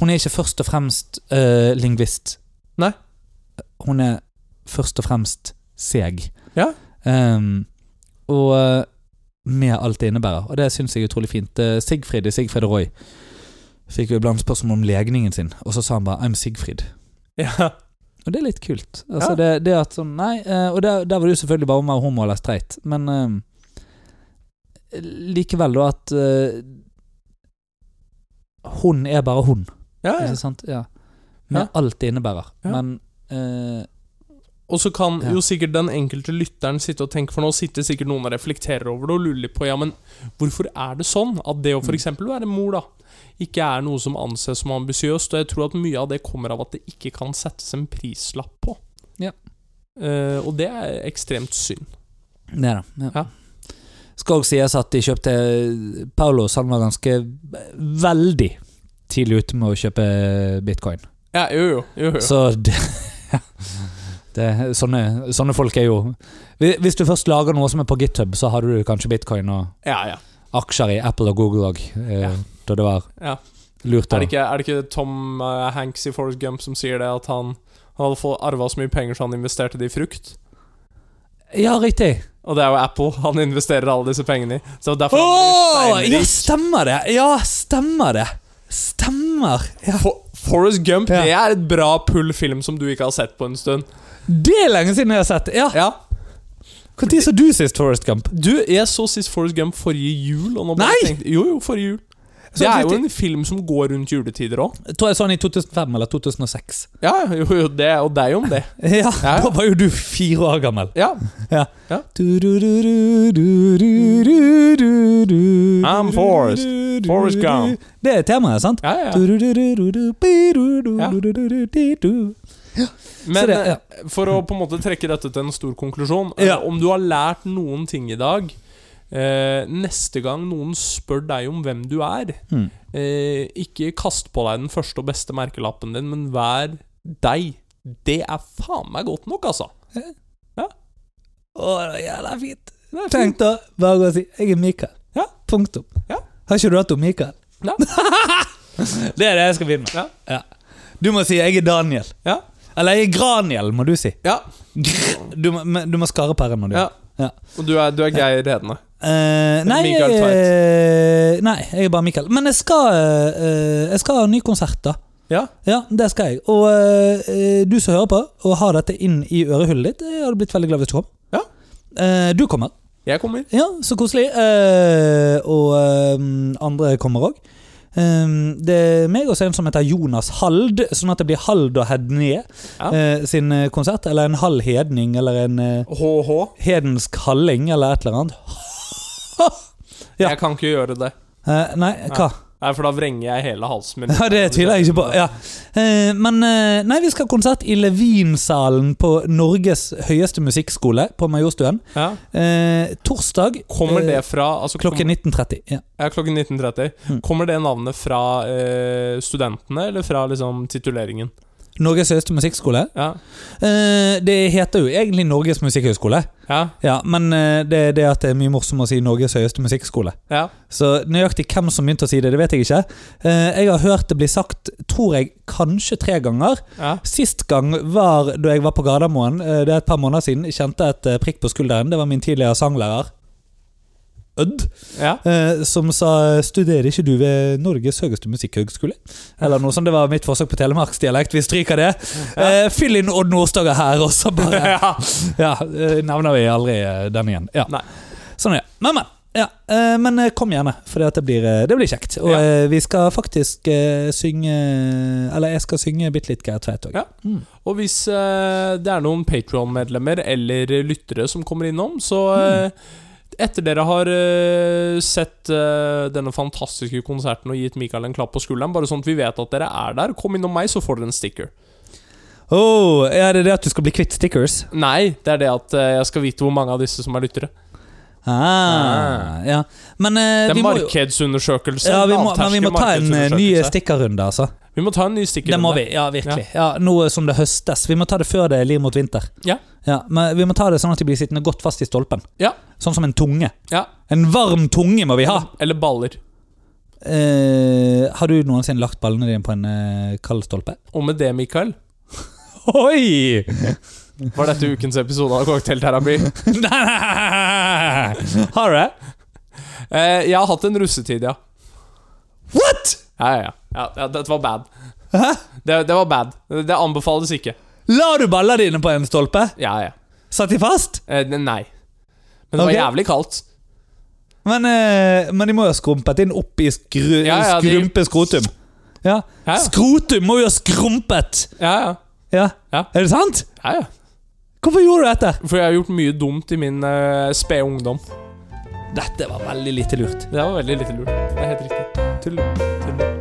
Speaker 1: Hun er ikke først og fremst eh, lingvist.
Speaker 2: Nei.
Speaker 1: Hun er først og fremst seg.
Speaker 2: Ja.
Speaker 1: Ehm, og eh, med alt det innebærer. Og det syns jeg er utrolig fint. Eh, Sigfrid i Sigfrid og Roy fikk jo iblant spørsmål om legningen sin, og så sa han bare 'I'm Sigfrid'.
Speaker 2: Ja.
Speaker 1: Og det er litt kult. Altså,
Speaker 2: Ja.
Speaker 1: det, det at sånn, nei, eh, og der, der var det jo selvfølgelig bare om å være homo eller streit, men eh, likevel da at eh, Hun er bare hun,
Speaker 2: ja, ja.
Speaker 1: ikke sant? Ja. Med
Speaker 2: Ja.
Speaker 1: alt det innebærer.
Speaker 2: Ja.
Speaker 1: Men eh,
Speaker 2: Og så kan
Speaker 1: Ja.
Speaker 2: jo sikkert den enkelte lytteren sitte og tenke, for nå sitter sikkert noen og reflekterer over det og lurer litt på ja, men hvorfor er det sånn at det
Speaker 1: Mm.
Speaker 2: å f.eks. være mor, da, ikke er noe som anses som ambisiøst, og jeg tror at mye av det kommer av at det ikke kan settes en prislapp på.
Speaker 1: Ja.
Speaker 2: Eh, og det er ekstremt synd.
Speaker 1: Nei da. Ja.
Speaker 2: Ja.
Speaker 1: Skal også sies at de kjøpte Paulos, han var ganske veldig tidlig ute med å kjøpe bitcoin.
Speaker 2: Ja, jo, jo. jo, jo.
Speaker 1: Så det, (laughs) det, sånne, sånne folk er jo Hvi- Hvis du først lager noe som er på GitHub, så hadde du kanskje bitcoin og
Speaker 2: Ja, ja.
Speaker 1: aksjer i Apple og Google òg, eh,
Speaker 2: Ja.
Speaker 1: da det var
Speaker 2: Ja.
Speaker 1: lurt.
Speaker 2: Er
Speaker 1: av-
Speaker 2: det, ikke, er det ikke Tom eh, Hanks i Forrest Gump som sier det, at han, han hadde fått arva så mye penger så han investerte det i frukt?
Speaker 1: Ja, riktig!
Speaker 2: Og det er jo Apple (laughs) han investerer alle disse pengene i. Så derfor
Speaker 1: Åh,
Speaker 2: han blir
Speaker 1: ja,
Speaker 2: steinrik.
Speaker 1: stemmer det! Ja, stemmer det! Stemmer! Ja.
Speaker 2: (laughs) For, Forrest Gump
Speaker 1: Ja.
Speaker 2: det er et bra pull-film som du ikke har sett på en stund.
Speaker 1: Det er lenge siden jeg har sett! Ja,
Speaker 2: Ja
Speaker 1: Når så du sist Forest Gump?
Speaker 2: Du, jeg så sist Forrest Gump forrige jul. Og nå bare
Speaker 1: Nei!
Speaker 2: Tenkte, jo, jo, forrige jul. Det er jo en film som går rundt juletider òg.
Speaker 1: Jeg tror jeg så den i 2005 eller 2006.
Speaker 2: Ja, jo, jo, det, og deg om det.
Speaker 1: Ja,
Speaker 2: Ja.
Speaker 1: Da var jo du fire år gammel.
Speaker 2: Ja.
Speaker 1: Ja.
Speaker 2: Ja.
Speaker 1: I'm
Speaker 2: I'm Forrest. Forrest Gump.
Speaker 1: Det er temaet, sant?
Speaker 2: Ja, ja.
Speaker 1: Så
Speaker 2: Men
Speaker 1: det- ja.
Speaker 2: eh, for å på en måte trekke dette til en stor konklusjon eh,
Speaker 1: Ja.
Speaker 2: Om du har lært noen ting i dag eh, Neste gang noen spør deg om hvem du er
Speaker 1: Mm.
Speaker 2: eh, Ikke kast på deg den første og beste merkelappen din Men vær deg Det er faen meg godt nok, altså
Speaker 1: Å, det er jævla fint.
Speaker 2: Det er
Speaker 1: Tenk da, bare gå og si 'jeg er Mikael'.
Speaker 2: Ja.
Speaker 1: Punktum.
Speaker 2: Ja.
Speaker 1: Har ikke du hatt om Mikael? (laughs)
Speaker 2: Ja.
Speaker 1: det er det jeg skal begynne med.
Speaker 2: Ja.
Speaker 1: Du må si 'jeg er Daniel'.
Speaker 2: Ja.
Speaker 1: Eller 'jeg er Graniel', må du si.
Speaker 2: Ja,
Speaker 1: Du må, men du må skare på r når du
Speaker 2: ja.
Speaker 1: Ja.
Speaker 2: Og du er, du er Geir Redene
Speaker 1: Eh, nei,
Speaker 2: Mikael
Speaker 1: jeg,
Speaker 2: Tveit.
Speaker 1: eh, nei, jeg er bare Mikael. Men jeg skal, eh, jeg skal ha en ny konsert, da.
Speaker 2: Ja,
Speaker 1: Ja, det skal jeg. Og eh, du som hører på, og har dette inn i ørehullet ditt, jeg hadde blitt veldig glad hvis du kom.
Speaker 2: Ja.
Speaker 1: Eh, du kommer.
Speaker 2: jeg kommer
Speaker 1: Ja, så koselig. Eh, og eh, andre kommer òg. det er meg og så en som heter Jonas Hald, sånn at det blir Hald og Hedné
Speaker 2: Ja.
Speaker 1: eh, sin eh, konsert. Eller en halv hedning, eller en eh,
Speaker 2: HH
Speaker 1: hedensk halling, eller et eller annet. Ja.
Speaker 2: Jeg kan ikke gjøre det
Speaker 1: Eh, nei, hva?
Speaker 2: Nei, for da vrenger jeg hele halsen min
Speaker 1: Ja, Det tviler jeg ikke på. Ja. Eh, Men eh, nei, vi skal ha konsert i Levinsalen på Norges høyeste musikkskole på Majorstuen.
Speaker 2: ja.
Speaker 1: Eh, Torsdag
Speaker 2: Kommer det
Speaker 1: eh,
Speaker 2: fra altså, kom-
Speaker 1: klokken 19.30. Ja.
Speaker 2: Ja, klokken 19.30.
Speaker 1: Mm.
Speaker 2: Kommer det navnet fra eh, studentene, eller fra liksom tituleringen?
Speaker 1: Norges høyeste musikkskole.
Speaker 2: Ja.
Speaker 1: Eh, Det heter jo egentlig Norges musikkhøgskole,
Speaker 2: Ja.
Speaker 1: ja, men eh, det er det at det er mye morsomt å si Norges høyeste musikkskole.
Speaker 2: Ja.
Speaker 1: Så nøyaktig hvem som begynte å si det, det vet jeg ikke. Eh, Jeg har hørt det bli sagt, tror jeg, kanskje tre ganger.
Speaker 2: ja.
Speaker 1: Sist gang var da jeg var på Gardermoen. eh, Det er et par måneder siden. Jeg kjente et eh, prikk på skulderen. Det var min tidligere sanglærer. Ødd.
Speaker 2: ja.
Speaker 1: eh, Som sa 'studerer ikke du ved Norges høyeste musikkhøgskole'? Eller noe sånt. Det var mitt forsøk på telemarksdialekt. Vi stryker det. Eh, Fyll inn Odd Nordstoga her, og så bare
Speaker 2: (laughs) ja.
Speaker 1: (laughs) Ja, eh, Nevner vi aldri eh, den igjen. Ja.
Speaker 2: Nei.
Speaker 1: Sånn er det. Men, men. Ja, eh, men eh, kom gjerne, for det, at det, blir, eh, det blir kjekt. Og
Speaker 2: Ja.
Speaker 1: eh, vi skal faktisk eh, synge Eller jeg skal synge bitte litt Geir Tveit òg.
Speaker 2: Ja. Og hvis eh, det er noen Patreon-medlemmer eller lyttere som kommer innom, så
Speaker 1: Mm.
Speaker 2: eh, etter dere har eh, sett eh, denne fantastiske konserten og gitt Mikael en klapp på skulderen, bare sånn at vi vet at dere er der, kom innom meg, så får dere en sticker.
Speaker 1: Oh, er det det at du skal bli kvitt stickers?
Speaker 2: Nei, det er det at eh, jeg skal vite hvor mange av disse som er lyttere.
Speaker 1: Ah, ja. Men eh,
Speaker 2: Det
Speaker 1: vi
Speaker 2: er
Speaker 1: må jo
Speaker 2: markedsundersøkelse.
Speaker 1: ja, vi må, men vi må
Speaker 2: lavterskel
Speaker 1: ta en eh, ny
Speaker 2: markedsundersøkelse.
Speaker 1: stikkerrunde, altså.
Speaker 2: Vi må ta en ny stikkerunde.
Speaker 1: Det må vi. Ja, virkelig. Ja, Nå som det høstes. Vi må ta det før det lir mot vinter.
Speaker 2: Ja.
Speaker 1: Men vi må ta det sånn at de blir sittende godt fast i stolpen.
Speaker 2: Ja.
Speaker 1: Sånn som en tunge.
Speaker 2: Ja.
Speaker 1: En varm tunge må vi ha!
Speaker 2: Eller baller.
Speaker 1: Eh, har du noensinne lagt ballene dine på en eh, kald stolpe?
Speaker 2: Og med det, Mikael,
Speaker 1: Oi!
Speaker 2: var dette ukens episode av Cocktailterapi.
Speaker 1: (laughs) Nei, nei, nei, nei. (laughs) Har du det?
Speaker 2: Eh, jeg har hatt en russetid, ja.
Speaker 1: What?!
Speaker 2: Ja, ja, ja. ja, ja dette var bad. Det, det var bad. Det, det anbefales ikke.
Speaker 1: La du ballene dine på en stolpe?
Speaker 2: Ja, ja.
Speaker 1: Satt de fast?
Speaker 2: Eh, ne- nei. Men det var
Speaker 1: Ok.
Speaker 2: jævlig kaldt.
Speaker 1: Men, eh, men de må jo ha skrumpet inn opp i skru,
Speaker 2: Ja, ja, de-
Speaker 1: skrumpe skrotum. Ja.
Speaker 2: Ja, ja.
Speaker 1: Skrotum må jo ha skrumpet!
Speaker 2: Ja, ja.
Speaker 1: Ja.
Speaker 2: Ja.
Speaker 1: Er det sant?
Speaker 2: ja, ja.
Speaker 1: Hvorfor gjorde du dette?
Speaker 2: For jeg har gjort mye dumt i min uh, spede ungdom.
Speaker 1: Dette var veldig lite lurt.
Speaker 2: Det var veldig lite lurt. Det er helt riktig. Tull, tull.